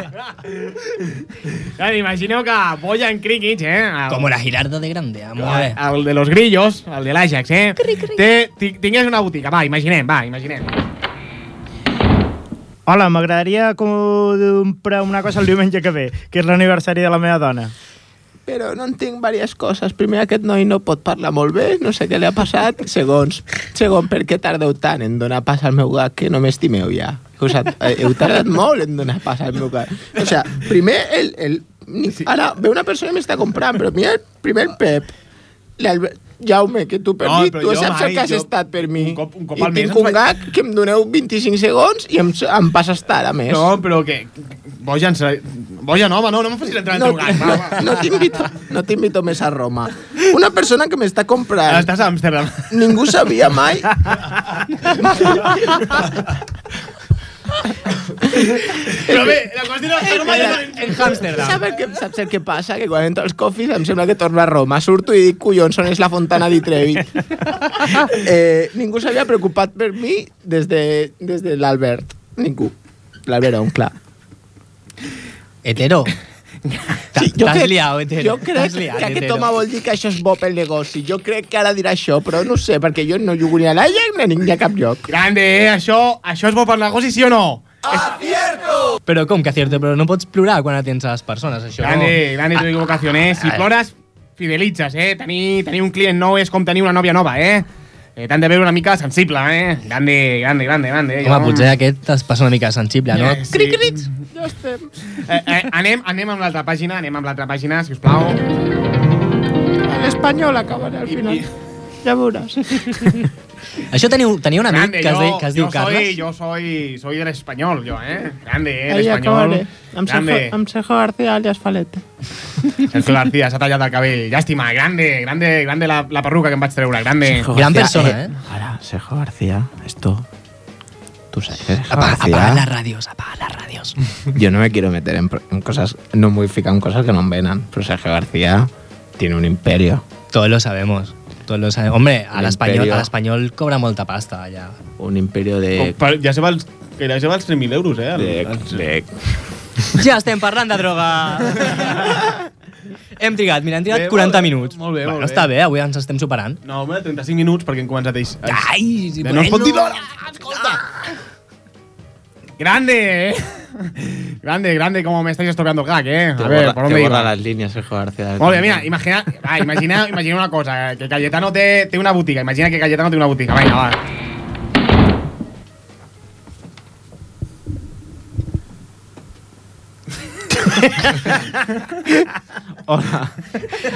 Claro, imagineu que Bojan Krikic, eh? El, Com la girarda de grande, amor. el, el de los grillos, el de l'Ajax, eh? Té, ti- tingués una botiga, va, imaginem, va, imaginem. Hola, m'agradaria comprar una cosa el diumenge que ve, que és l'aniversari de la meva dona. Però no entenc diverses coses. Primer, aquest noi no pot parlar molt bé, no sé què li ha passat. Segons, segon, per què tardeu tant en donar pas al meu gat que no m'estimeu ja? Us ha, eh, heu tardat molt en donar pas al meu gat. O sea, primer el... el ni- ara, ve una persona i m'està comprant, però mira, primer el Pep, l'Albert, Jaume, que tu per No, mi, però tu jo saps mai, el que has jo- estat per mi. Un cop, un cop I al mes tinc ens un vaig- gat que em doneu 25 segons i em, em passes tard, a més. No, però que... Bojan, se- Bojan, home, no, no em facis entrar en el teu gat, va, va. No t'invito no t'invito més a Roma. Una persona que m'està Ah, comprant... Estàs a Amsterdam. Ningú sabia mai... Però bé, la qüestió és que no m'ha En Amsterdam. Saps el, que, saps el que passa? Que quan entro als cofis em sembla que torno a Roma. Surto i dic, collons, on és la Fontana di Trevi? eh, ningú s'havia preocupat per mi des de, des de l'Albert. Ningú. L'Albert on, clar. Hetero. Sí, t'has liat, hetero. Jo crec T'has liat, que aquest hetero. home vol dir que això és bo pel negoci. Jo crec que ara dirà això, però no ho sé, perquè jo no jugo ni a l'Ajax ni a ni a cap lloc. Grande, eh? Això, això és bo per negoci, sí o no? Però com que cierto, però no pots plorar quan atens a les persones, això. Grande, grande tu equivocación, eh? Si Ah. plores, fidelitzes, eh? Tenir, tenir un client nou és com tenir una nòvia nova, eh? Eh, T'han de veure una mica sensible, eh? Grande, grande, grande, grande. eh, Home, potser aquest es passa una mica sensible, no? Sí. Cric, cric. Ja estem. Eh, eh, anem, anem amb l'altra pàgina, anem amb l'altra pàgina, si us plau. L'espanyol acabarà al final. Ja veuràs. Això teniu, teniu un amic Grande, que es, de, yo- que es yo diu Carles? Soy, yo soy, soy del espanyol, jo, eh? Grande, eh? Ahí acabaré. L'espanyol. Amb Sergio, Grande. amb Sergio García alias Falete. Sergio García s'ha tallat el cabell. Llàstima, grande, grande, grande la, la perruca que em vaig treure, grande. Sergio Gran García, persona, eh? Ahora, Sergio García, esto... Tú sabes, Sergio García. Apaga las radios, apaga las radios. Yo no me quiero meter en, pro- en cosas, no muy fica en cosas que no envenan. Pero Sergio García tiene un imperio. Todos lo sabemos. Todos lo sabemos. Hombre, a Un l'espanyol imperio. a l'espanyol cobra molta pasta, allà. Un imperio de... Per, ja se va als, que ja se va als 3.000 euros, eh? El, el, Ja estem parlant de droga! Hem trigat, mira, hem trigat Bé, 40 molt bé, minuts. molt bé, bueno, molt bé. està bé, avui ens estem superant. No, home, 35 minuts perquè hem començat ells. Ai, ja no es pot dir d'hora! Ah. Grande, eh? Grande, grande, como me estáis tocando el gag, eh? A ver, ¿por dónde iba? las líneas, Sergio García. Molt bé, mira, imagina, va, imagina, imagina una cosa, eh, que Cayetano té, té una botiga, imagina que Cayetano té una botiga, vinga, va. Hola.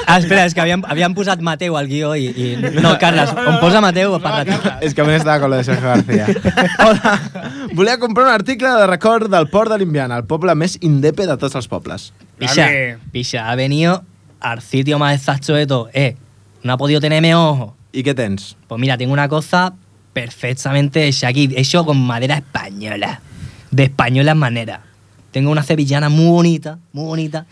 Ah, Espera, és que havíem, havíem posat Mateu al guió i... i... No, Carles, on posa Mateu parla tu. És que a mi estava con lo de Sergio García. Hola. Volia comprar un article de record del port de l'Indiana, el poble més indepe de tots els pobles. Pixa, pixa, ha venido al sitio más exacto de todo. Eh, no ha podido tenerme ojo. ¿Y qué tens? Pues mira, tengo una cosa perfectamente hecha aquí, hecho con madera española. De española manera. Tengo una sevillana muy bonita, muy bonita.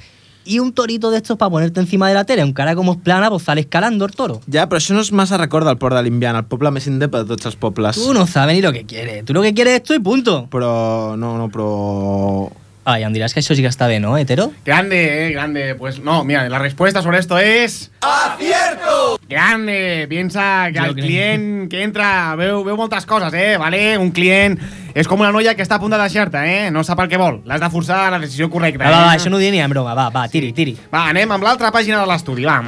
Y un torito de estos para ponerte encima de la tele. Aunque ahora como es plana, pues sale escalando el toro. Ja, però això no és massa record del port de l'Indiana, el poble més indepe de tots els pobles. Tú no sabes ni lo que quieres. Tú lo que quieres es esto y punto. Pero, no, no, pero... Ay, em dirás que eso sí que está bien, ¿no, hetero? Grande, eh, grande. Pues no, mira, la respuesta sobre esto es... ¡Acierto! Grande. Piensa que Yo al creo. client que entra veu, veu moltes coses, eh, vale? Un client és com una noia que està a punt de deixar-te, eh? No sap el que vol. L'has de forçar a la decisió correcta, Va, va, va, eh? això no ho diré ni en broma. Va, va, tiri, tiri. Va, anem amb l'altra pàgina de l'estudi, va.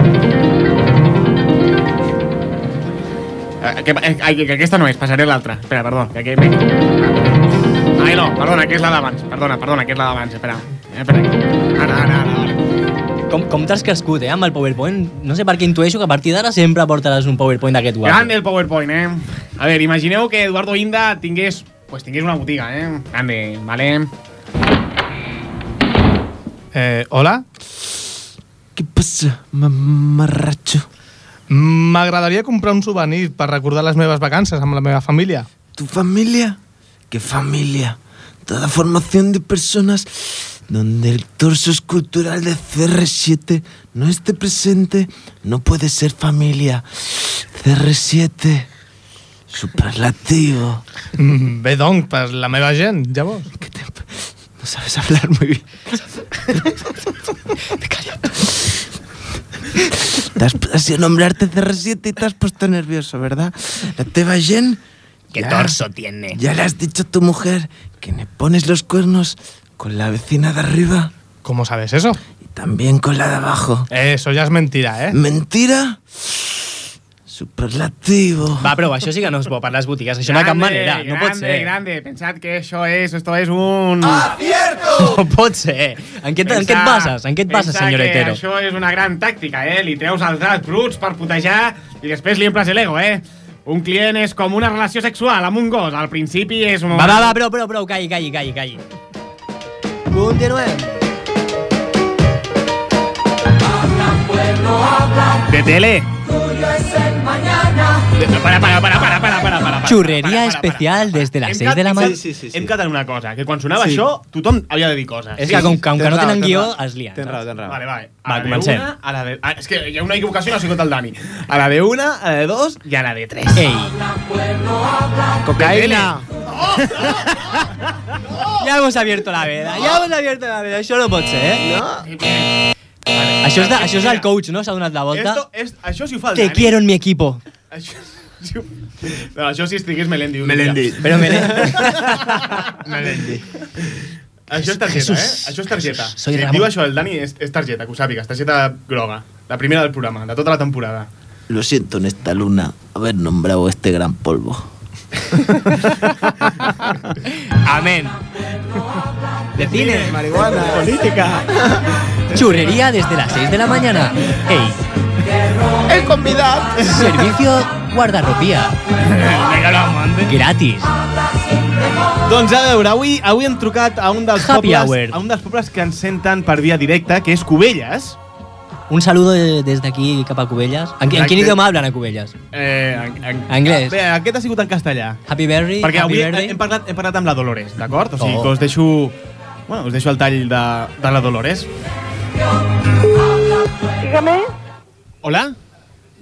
Eh, Que, eh, ai, que aquesta no és, passaré a l'altra. Espera, perdó. Que, que, Ai, no, perdona, que és la d'abans. Perdona, perdona, que és la d'abans. Espera, eh, espera. Ara, ara, ara. Com, com t'has crescut, eh, amb el PowerPoint? No sé per què intueixo que a partir d'ara sempre portaràs un PowerPoint d'aquest guapo. Grande el PowerPoint, eh? A ver, imagineu que Eduardo Inda tingués... Pues tingués una botiga, eh? Grande, vale? Eh, hola? Què passa, mamarratxo? M'agradaria comprar un souvenir per recordar les meves vacances amb la meva família. Tu família? Qué familia. Toda formación de personas donde el torso escultural de CR7 no esté presente no puede ser familia. CR7, superlativo. Mm, Bé, doncs, per la meva gent, llavors. No sabes hablar muy bien. Te has, has sido nombrarte CR7 y te has puesto nervioso, ¿verdad? La Teba Jen. Qué ya- torso tiene. Ya le has dicho a tu mujer que me pones los cuernos con la vecina de arriba. ¿Cómo sabes eso? Y también con la de abajo. Eso ya es mentira, eh? ¿Mentira? Superlativo. Va, però això sí que no es bo per les botigues, això de cap manera, no pot grande, ser. grande. Pensad que eso es, esto es un... No pot ser. eh. En què, Ah, en què et bases? En què et bases, senyor hetero? Això és una gran tàctica, eh? Li treus els draps bruts per putejar i després li emples l'ego, eh? Un client és com una relació sexual amb un gos. Al principi és un... Va, va, va, prou, prou, prou, calli, calli, calli, calli. Continuem. De tele. Para, para, para, para, para, para, para. Em Xurreria especial des de les 6 de mañana. la mañana. Sí, sí, sí, Hem quedat en em una cosa, que quan sonava Sí. això, tothom havia de dir coses. És que com que, com que no tenen guió, es lien. Tens raó, tens raó. Vale, vale. Va, A la de comencem. una, a la de... ah, és que hi ha una equivocació i no ha sigut el Dani. A la de una, a la de dos i a la de tres. Ei. Cocaïna. Ja hemos abierto la veda, ja hemos abierto la veda, això no pot ser, eh? No. Això és, de, això és el coach, no? S'ha donat la volta. Esto, es, això sí ho fa el Te Dani. quiero en mi equipo. Això, sí ho- no, això sí estigués Melendi. un dia. Melendi. Però Melendi. Melendi. Això és targeta, Jesús, eh? Això és targeta. Jesús, soy Si et Ramon. diu això el Dani, és, és targeta, que ho sàpigues. Targeta groga. La primera del programa, de tota la temporada. Lo siento en esta luna, haber nombrado este gran polvo. Amén. De cine, marihuana, política. Churrería desde las 6 de la mañana. Ey. El convidado. Servicio guardarropía. Gratis. Doncs a veure, avui, avui hem trucat a un dels Happy pobles, hour. a un dels pobles que ens senten per via directa, que és Cubelles. Un saludo de- desde aquí cap a Cubelles. En, en Exacte. quin idioma hablan a Cubelles? Eh, en, en, Anglès. Bé, aquest ha sigut en castellà. Happy Berry, Perquè Happy avui Birthday. hem parlat, hem parlat amb la Dolores, d'acord? O sigui, Oh. que us deixo... Bueno, us deixo el tall de, de la Dolores. Dígame, Hola?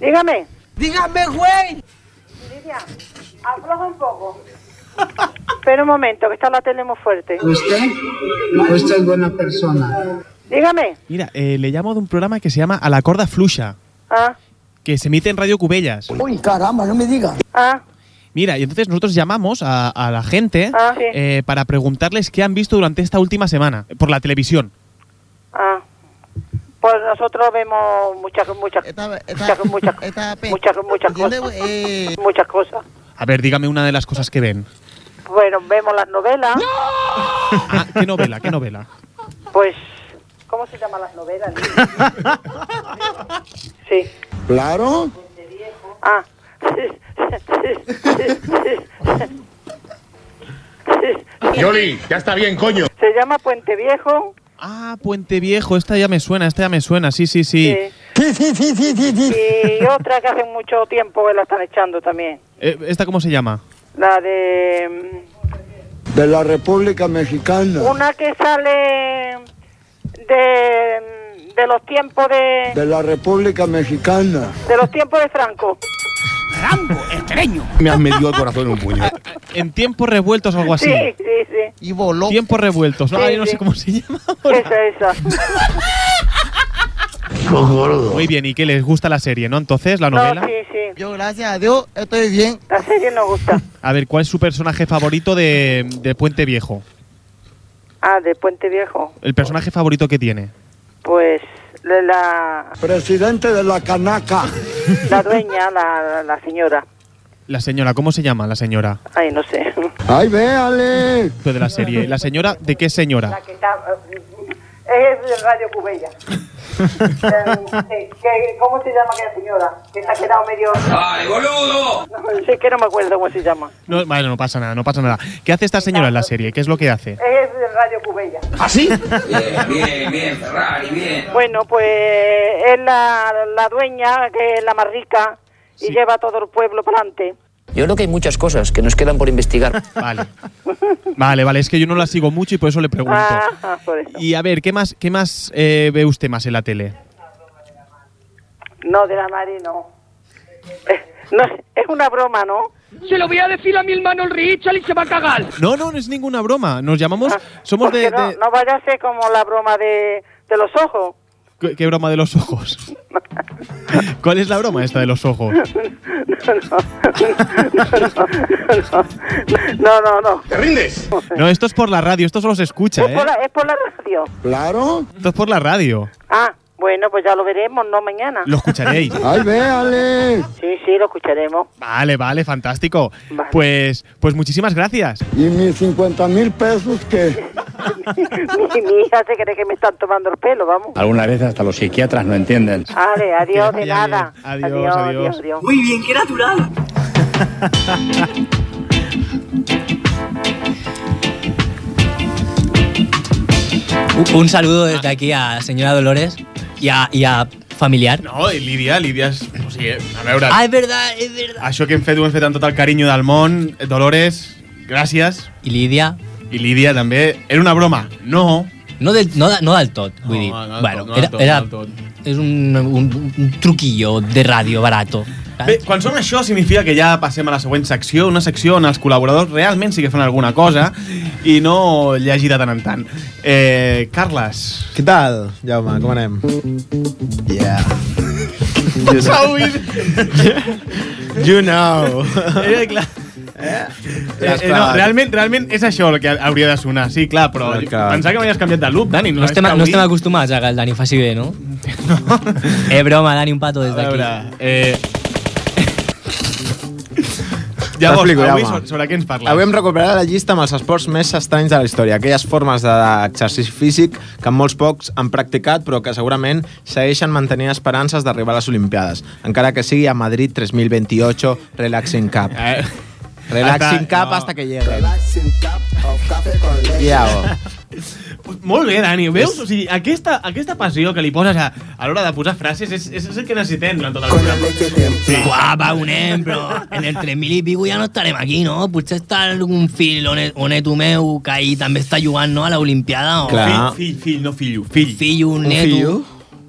dígame. Dígame, güey. Lidia, afloja un poco. Espera un momento, que está la tele muy fuerte. Usted, usted es buena persona. Dígame. Mira, eh, le llamo de un programa que se llama A la corda fluixa, Ah, que se emite en Radio Cubellas. Uy, caramba, no me diga. Ah, Mira, y entonces nosotros llamamos a, a la gente Ah, sí. eh, para preguntarles qué han visto durante esta última semana por la televisión. ah. Pues nosotros vemos muchas, muchas, muchas, muchas, muchas, muchas cosas. Muchas cosas. A ver, dígame una de las cosas que ven. Bueno, vemos las novelas. Ah, ¿Qué novela? ¿Qué novela? Pues, ¿cómo se llaman las novelas? sí. Claro. Ah. Yoli, ya está bien, coño. Se llama Puente Viejo. Ah, Puente Viejo, esta ya me suena, esta ya me suena, sí, sí, sí. Sí, sí, sí, sí, sí, Y otra que hace mucho tiempo que la están echando también. Eh, ¿Esta cómo se llama? La de. De la República Mexicana. Una que sale de, de los tiempos de. De la República Mexicana. De los tiempos de Franco. Me has metido el corazón en un puño. En tiempos revueltos o algo así. Sí, sí, sí. Y voló. Tiempos revueltos. No, Sí, Ay, no sí. sé cómo se llama. Esa, esa. Muy bien, ¿y qué les gusta la serie, no? Entonces, la novela. sí, sí. Yo, gracias a Dios, estoy bien. La serie nos gusta. A ver, ¿cuál es su personaje favorito de, de Puente Viejo? Ah, de Puente Viejo. El personaje favorito que tiene. Pues de la, Presidente de la Canaca. la dueña, la, la señora. La señora, ¿cómo se llama la señora? Ay, no sé. ¡Ay, véale! De la serie. ¿La señora de qué señora? que está, es de Radio Cubella. Eh, que- ¿Cómo se llama aquella señora? Que se ha quedado medio... ¡Ay, boludo! sí que no me acuerdo cómo se llama. No, bueno, no pasa nada, no pasa nada. ¿Qué hace esta señora en la serie? ¿Qué es lo que hace? Es de Radio Cubella. ¿Así? Bien, bien, Ferrari, bien. Bueno, pues es la, la dueña, que es la más rica, y lleva a todo el pueblo para adelante. Yo creo que hay muchas cosas que nos quedan por investigar. Vale. Vale, vale, es que yo no la sigo mucho y por eso le pregunto. Ah, por eso. Y a ver, ¿qué más, qué más eh, ve usted más en la tele? No, de la Mari no. Eh, no, es una broma, ¿no? Se lo voy a decir a mi hermano Richard y se va a cagar. No, no, no es ninguna broma. Nos llamamos. Somos de. no, de- no vaya a ser como la broma de, de los ojos. ¿Qué, qué broma de los ojos? ¿Cuál es la broma esta de los ojos? No, no, no. ¿Te rindes? No, esto es por la radio, esto solo se escucha, Es ¿eh? por, la, es por la radio. Claro. Esto es por la radio. Ah, bueno, pues ya lo veremos, no mañana. Lo escucharéis. véale! Sí, sí, lo escucharemos. Vale, vale, fantástico. Pues, pues muchísimas gracias. Y mis 50 mil pesos que... mi, mi hija se cree que me están tomando el pelo, vamos. Algunas veces hasta los psiquiatras no entienden. Vale, adiós, de vaya nada. bien. Adiós, adiós. Muy bien, qué natural. Un- Un saludo desde aquí a señora Dolores y a, y a familiar. No, i Lídia, Lídia és... O sigui, a veure... Ah, es verdad, es verdad. Això que hem fet ho hem fet amb tot el carinyo del món. Dolores, gràcies. I Lídia. I Lídia també. Era una broma. No. No del, no, da- no del tot, vull dir. no del bueno, tot, no era, del tot, era, no del tot. és un, un, un truquillo de ràdio barato. Bé, quan som això significa que ja passem a la següent secció, una secció on els col·laboradors realment sí que fan alguna cosa i no llegir de tant en tant. Eh, Carles. Què tal, Jaume? Com anem? Yeah. Què passa avui? You know. Eh, clar. Eh, eh, no, clar. realment, realment és això el que hauria de sonar. Sí, clar, però Clar, clar. pensar que m'havies canviat de loop, Dani. No estem, no estem acostumats a que el Dani faci bé, no? no. Eh, broma, Dani, un pato des d'aquí. veure, eh... Llavors, T'explico, avui Jaume. so- sobre què ens parles? Avui hem recuperat la llista amb els esports més estranys de la història, aquelles formes d'exercici físic que molts pocs han practicat però que segurament segueixen mantenint esperances d'arribar a les Olimpiades, encara que sigui a Madrid 3028 Relaxing Cup. Eh. Relaxing Hasta- Cup no. hasta que llegue. oh. Iago. Molt bé, Dani, ho veus? O sigui, aquesta, aquesta passió que li poses a, a l'hora de posar frases és, és, és el que necessitem durant tota tot el programa. Guapa, un ejemplo. En el 3000 y pico ya no estaremos aquí, ¿no? Potser està algun fill on, e- on tu meu que ahí també està jugant no, a la Olimpiada. O... Clar. Fill, fill, fill, no fillo. Fill. Fillo, un neto. fillo?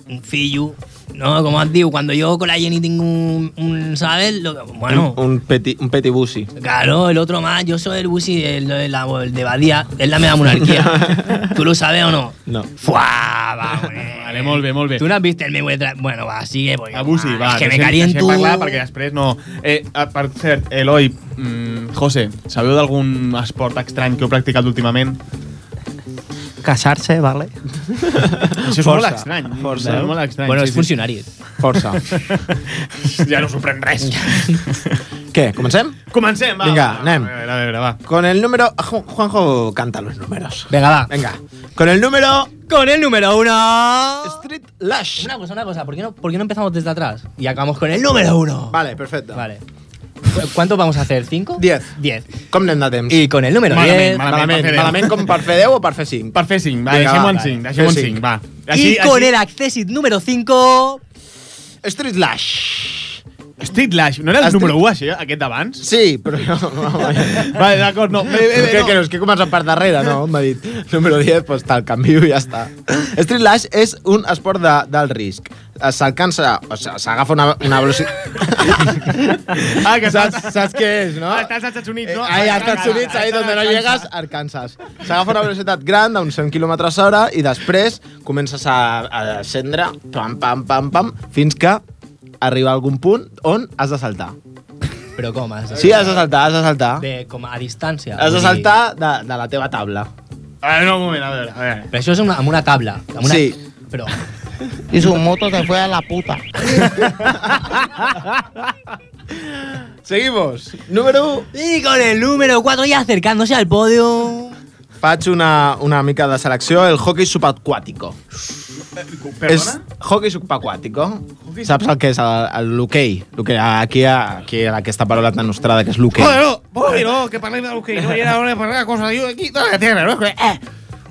Un fillo. No, como os digo, cuando yo con la Jenny tengo un, un ¿sabes? Lo que- bueno, Un, un peti, un petibusi. claro, el otro más, yo soy el busi el, el- la- el de Badía, es la media monarquía. ¿Tú lo sabes o no? No. Fuà, va, Vale, molt bé, molt bé. Tú no has visto el meu... tra- Bueno, va, sigue, porque... Abusi, va, Ah, que me deixem- deixem caliento. parlar perquè després no... Eh, a- per cert, Eloi, mm, José, sabeu d'algun esport estrany que heu practicat últimament? Casar-se, vale? Això és Força, molt estrany. força. És molt estrany. Bueno, és funcionari. Força. ja no sorprèn res. Què, comencem? Comencem, va. Vinga, va, anem. A veure, a veure, va. Con el número... Ju- Juanjo canta los números. Venga, va. Venga. Con el número... Con el número uno... Street Lash. Una cosa, una cosa. ¿Por qué no, por qué no empezamos desde atrás? Y acabamos con el número uno. Vale, perfecto. Vale. ¿Cu- ¿Cuánto vamos a hacer? ¿Cinco? Diez. Diez. Com anem de temps? I con el número malament, diez. Malament, Malament, malament, malament. malament com per fer 10 o per fer 5? Per fer 5, va, deixem-ho en 5, deixem-ho en 5, va. y con el Accessit número cinco... Street Lash. Street Lash, no era el Street- número 1, això, aquest d'abans? Sí, però... vale, d'acord, no. Bé, bé, Eh, bé, que, no. que no, és que comença per darrere, no? M'ha dit número 10, doncs tal, canvio i ja està. Street Lash és un esport de, del risc. Eh, S'alcança... O sigui, s'agafa una, una velocitat... Ah, que saps, saps què és, no? Estàs als Estats Units, no? Eh, Ahí, a Estats Units, ahí donde no llegas, Arkansas. S'agafa una velocitat gran d'uns 100 km hora i després comences a, a descendre, pam, pam, pam, pam, fins que arriba a algun punt on has de saltar. Pero comas. Sí, has de saltar, has de saltar. De, como a distancia. Has de saltar de, de la teva tabla. A veure, no, un moment, a veure, a veure. Pero eso es una, amb una tabla. amb Una, Sí. Pero... Y su moto se fue a la puta. Seguimos. Número... Y con el número cuatro ya acercándose al podio... Faig una, una mica de selecció, el hockey subaquàtico. Perdona? És hockey subaquàtico. Saps el que és el- el- l'hoquei? L'hoquei, Aquí, aquí aquesta paraula tan nostrada que és l'hoquei. Joder, no, joder, no, que parlem del que no hi era hora de parlar de coses. Jo aquí, tota la terra, no? Eh,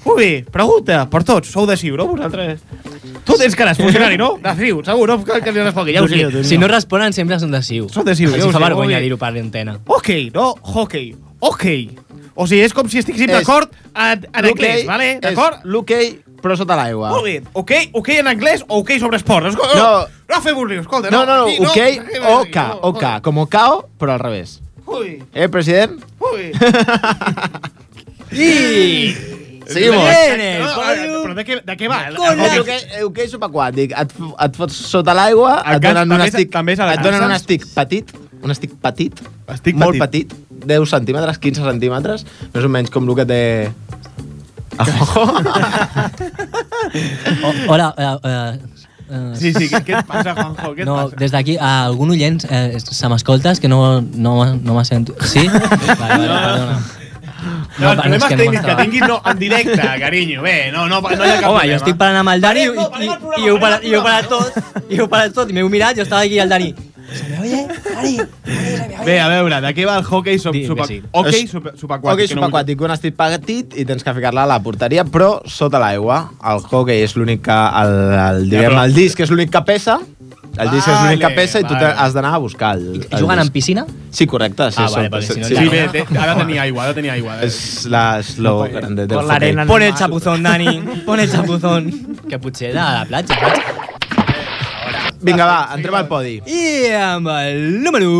molt bé, pregunta, per tots, sou de Ciu, no, vosaltres? Tu tens cara de funcionari, no? De Ciu, segur, no cal que li respongui, ja ho sé. si no responden, siempre son de Siu. Són de Siu, Així ja ho fa sé, molt vergonya bé. dir-ho per antena. Ok, no, hockey, ok. O sigui, és com si estiguéssim És- d'acord en, en anglès, vale? és D'acord? L'hoquei, però sota l'aigua. Molt bé, ok, ok en anglès o ok sobre esports. Escolta, No. no, no fem un riu, escolta. No, no, no, aquí hoquei, aquí no, OK, OK, com cao, però al revés. Ui, Eh, president? ui. I... Seguimos. Viene, No, pollo. però de què, de què va? El Con la- hoquei, el hoquei subaquàtic, et, fo- et fots sota l'aigua, et Alcan- donen un també és- estic, també és et donen un Alcances? estic petit, un estic petit, Estic molt petit. petit, 10 centímetres, 15 centímetres, més o menys com el que té... Ojo. O- hola, eh, eh, eh, Sí, sí, què, què et passa, Juanjo? Què et no, passa? des d'aquí, a algun oient eh, se m'escoltes que no, no, no m'ha sent... Sí? Vale, vale, perdona. No, els és problemes que tècnics que m'estava- tinguis no, en directe, carinyo. Bé, no, no, no hi ha cap Home, problema. jo estic parlant amb el Dani i, Parem, no, i, parem el programa, i, ho para, parem i el ho para tot, i ho para tot, i m'heu mirat, jo estava aquí al Dani. Bé, a veure, de què va el hockey sub, Digue'm sub, que sí. hockey És- sub, Hockey subaquàtic? que no vull- subaquàtic, un estic petit i tens que ficar-la a la porteria, però sota l'aigua. El hockey és l'únic que... El, el, diguem, però- el disc és l'únic que pesa, el disc és l'únic que Vale, pesa i tu te- vale. has d'anar a buscar el, el I juguen en disc. piscina? Sí, correcte. Sí, Ah, vale, són- perquè si no sí, ja Sí, no. bé, té, ha de tenir aigua, ha de tenir aigua. És la slow grande del hockey. Pon el chapuzón, Dani, pon el chapuzón. Que potser era a la platja, saps? Vinga, va, entrem al podi. I amb el número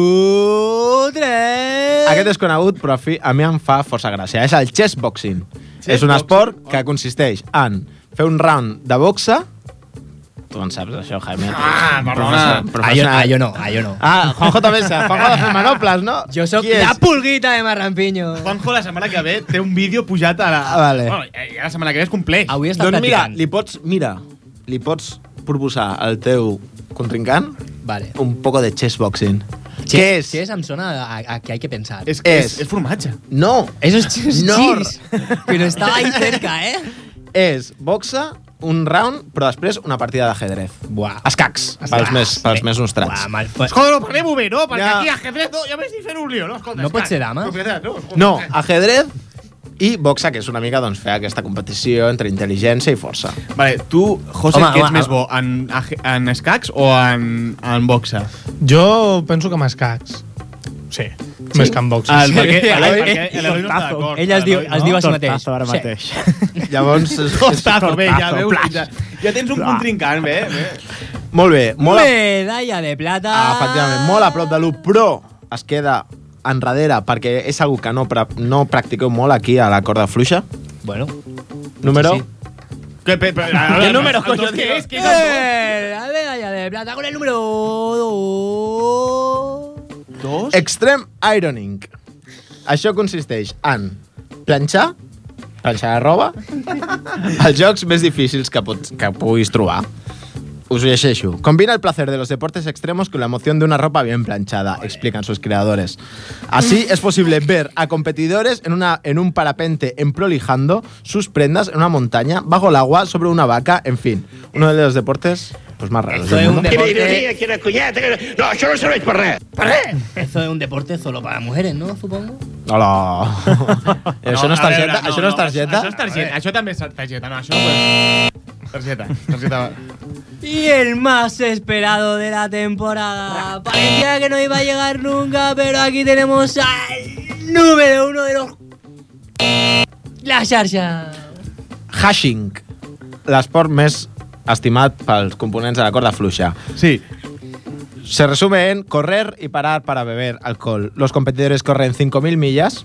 3... Aquest és conegut, però a, fi, a mi em fa força gràcia. És el chess boxing. és un esport que consisteix en fer un round de boxa... Tu en saps, això, Jaime. Ah, perdona. Ah, jo, ah, jo no, ah, jo no. Ah, Juanjo també sap. Juanjo ha de fer manoples, no? Jo sóc Qui és? la pulguita de Marrampiño. Juanjo, la setmana que ve, té un vídeo pujat a la... Ah, vale. Bueno, eh, la setmana que ve és Ah, complet. Avui està Doncs mira, practicant. li pots... Mira, li pots proposar al teu contrincant Vale. un poco de chess boxing. Che, es? Cheers em sona a, a, a que hay que pensar. És, és, és formatge. No, Eso es cheers. Nord. cheers. Pero estaba ahí cerca, ¿eh? és boxa, un round, però després una partida d'ajedrez. Buah. Escacs, Eh? pels Escacs. més, pels més nostrats. Buah, mal... Pues... Joder, ho parlem-ho bé, no? Perquè Ja. aquí ajedrez, no, ja m'estic fent un lío, no? Escolta, No pot escacs, ser dames? propietat, No, escolta, No, ajedrez i boxa, que és una mica doncs, fer aquesta competició entre intel·ligència i força. Ah, Vale, tu, José, Home, què ets home, més bo, en, aje- en escacs o en, en boxa? Jo penso que amb escacs. Sí, sí? més que amb Ah, boxes. El, perquè, l'Eloi- perquè l'Eloi no està Tortazo. d'acord. Ella es diu- L'Eloi es diu a si Tortazo mateix. ara Sí. mateix. Llavors, és- és Tortazo, bé, ja tortazo, veus. plaç. Ja, ja tens un contrincant, bé. bé. Molt bé, molt a, Medalla de plata. Ah, efectivament, molt a prop de l'1, però es queda enrere perquè és algo que no, pra- no practiqueu molt aquí a la corda fluixa. Bueno. Número? Sí, Que, pe, pe, ¿Qué número, coño, Entonces, tío? es que- Eh, La medalla de plata con el número 2. Dos? Extreme ironing. Això consisteix en planxar, planxar la roba, els jocs més difícils que, pots, que puguis trobar. Us ho llegeixo. Combina el placer de los deportes extremos con la emoción de una ropa bien planchada, explican sus creadores. Así es posible ver a competidores en, una, en un parapente emprolijando sus prendas en una montaña, bajo el agua, sobre una vaca, en fin. Uno de los deportes pues, más raros. del mundo. No, això no serveix per res. Per res. Eso es un deporte solo para mujeres, ¿no? Supongo. Hola. això no és a veure, targeta? això no és targeta? Això és targeta, això també és targeta. No, això pues... Targeta, targeta. Y el más esperado de la temporada. Parecía que no iba a llegar nunca, pero aquí tenemos al número uno de los. La xarxa. Hashing, l'esport més estimat pels components de la corda fluixa. Sí. Se resume en correr y parar para beber alcohol. Los competidores corren 5.000 millas.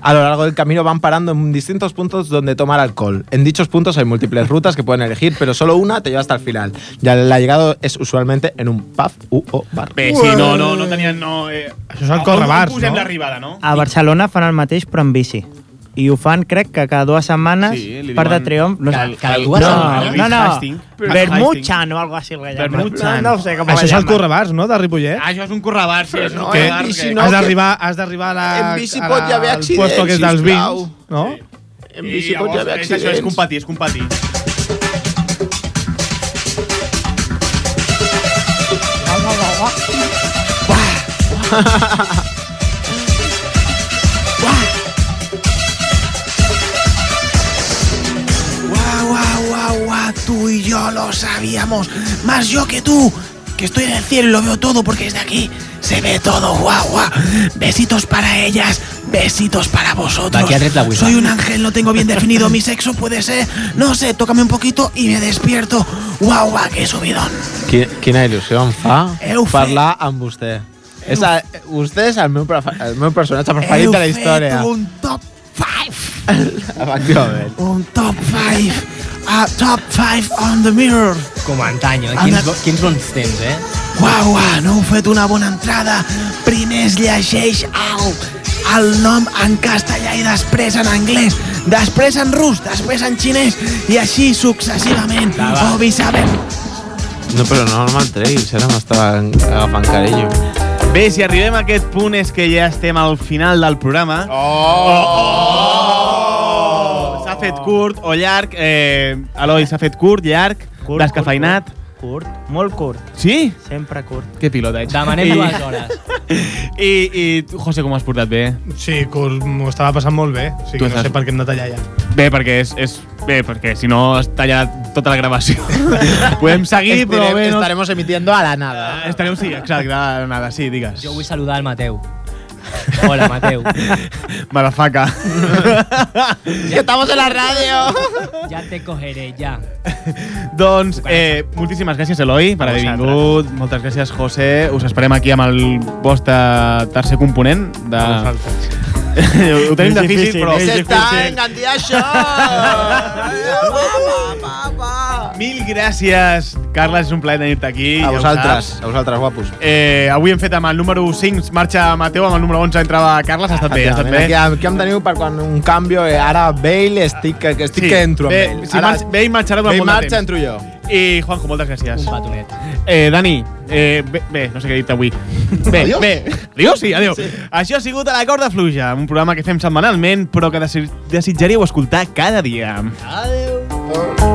A lo largo del camino van parando en distintos puntos donde tomar alcohol. En dichos puntos hay múltiples rutas que pueden elegir, pero solo una te lleva hasta el final. Ya la llegada es usualmente en un pub u o bar. Bé, sí, no, no, no tenien... No, eh, Això és el correbars, on posem no? l'arribada, no? A Barcelona fan el mateix però amb bici. I ho fan, crec, que cada dues setmanes, Sí, li sí, part de diuen- triomf. No, Cada- sé. cada no, dues setmanes? no, no, Hasting. no. Vermutxan o algo així. Vermutxan. No, no sé com ho Això és el llamen. correbars, no?, de Ripollet? Ah, això és un correbars, sí, és un que correbars. si no, has d'arribar has d'arribar a la... En bici a pot la- hi haver accidents, Al puesto que és dels sisplau. vins, no? En bici pot hi haver Això és accidents. competir, és competir. Guau, guau, guau, guau, tú y yo lo sabíamos. Más yo que tú, que estoy en el cielo y lo veo todo porque desde aquí se ve todo. Guau, guau. Besitos para ellas, besitos para vosotros. Aquí atrás la huiza. Soy un ángel, no tengo bien definido mi sexo, puede ser. No sé, tócame un poquito y me despierto. Guau, guau, qué subidón. Qui- Quina il·lusió em fa Heu fet- parlar amb vostè. És a, vostè és el meu, prefe- el meu personatge preferit Heu de la fet història. un top 5. Efectivament. Un top 5. A top 5 on the mirror. Com antaño, eh? Amb Quins, la- bo- quins bons temps, eh? Uau, uau, no heu fet una bona entrada. Primer es llegeix el, el nom en castellà i després en anglès, després en rus, després en xinès i així successivament. O viceversa. Ah, No, però no me'l treguis, ara m'estava agafant carinyo. Bé, si arribem a aquest punt és que ja estem al final del programa. Oh! oh! S'ha fet curt o llarg. Eh, Eloi, s'ha fet curt, llarg, Curt, descafeinat. Curt, molt curt. Sí? Sempre curt. Què pilota ets? Demanem I- dues hores. I, i tu, José, com has portat bé? Sí, que us- m'ho estava passant molt bé. O sigui, Tu que no estàs- sé per què hem de tallar ja. Bé, perquè és, és bé, perquè si no has tallat tota la gravació. Podem seguir, però bé, no... Estaremos emitiendo a la nada. Estarem, Eh, sí, exacte, a nada, sí, digues. Yo voy a saludar al Mateu. Hola, Mateu. Malafaca. ¡Que estamos en la radio! Ya te cogeré, ya. Doncs eh, moltíssimes gràcies, Eloi, per haver vingut. Moltes gràcies, José. Us esperem aquí amb el vostre tercer component. De... Ho tenim difícil, Difícil, però... és Se está difícil. engandiacho. Mil gràcies, Carles. És un plaer tenir-te aquí. A ja ho vosaltres, saps. a vosaltres, guapos. Eh, avui hem fet amb el número 5 marxa Mateu, amb el número 11 entrava Carles. Ha estat bé, ha estat bé. Efectivament, Aquí, aquí em teniu per quan un canvi, eh, ara Bale, estic, que, que estic que entro amb bé, Bale. Si Ara marx, bé, hi marxarà durant Bale molt de marxa, temps. entro jo. I, Juanjo, moltes gràcies. Un petonet. Eh, Dani, eh, bé, bé, no sé què he dit avui. Bé, Adiós. bé. Adiós, sí, adéu. Sí. Això ha sigut A la corda fluja, un programa que fem setmanalment, però que desi- desitjaríeu escoltar cada dia. Adéu.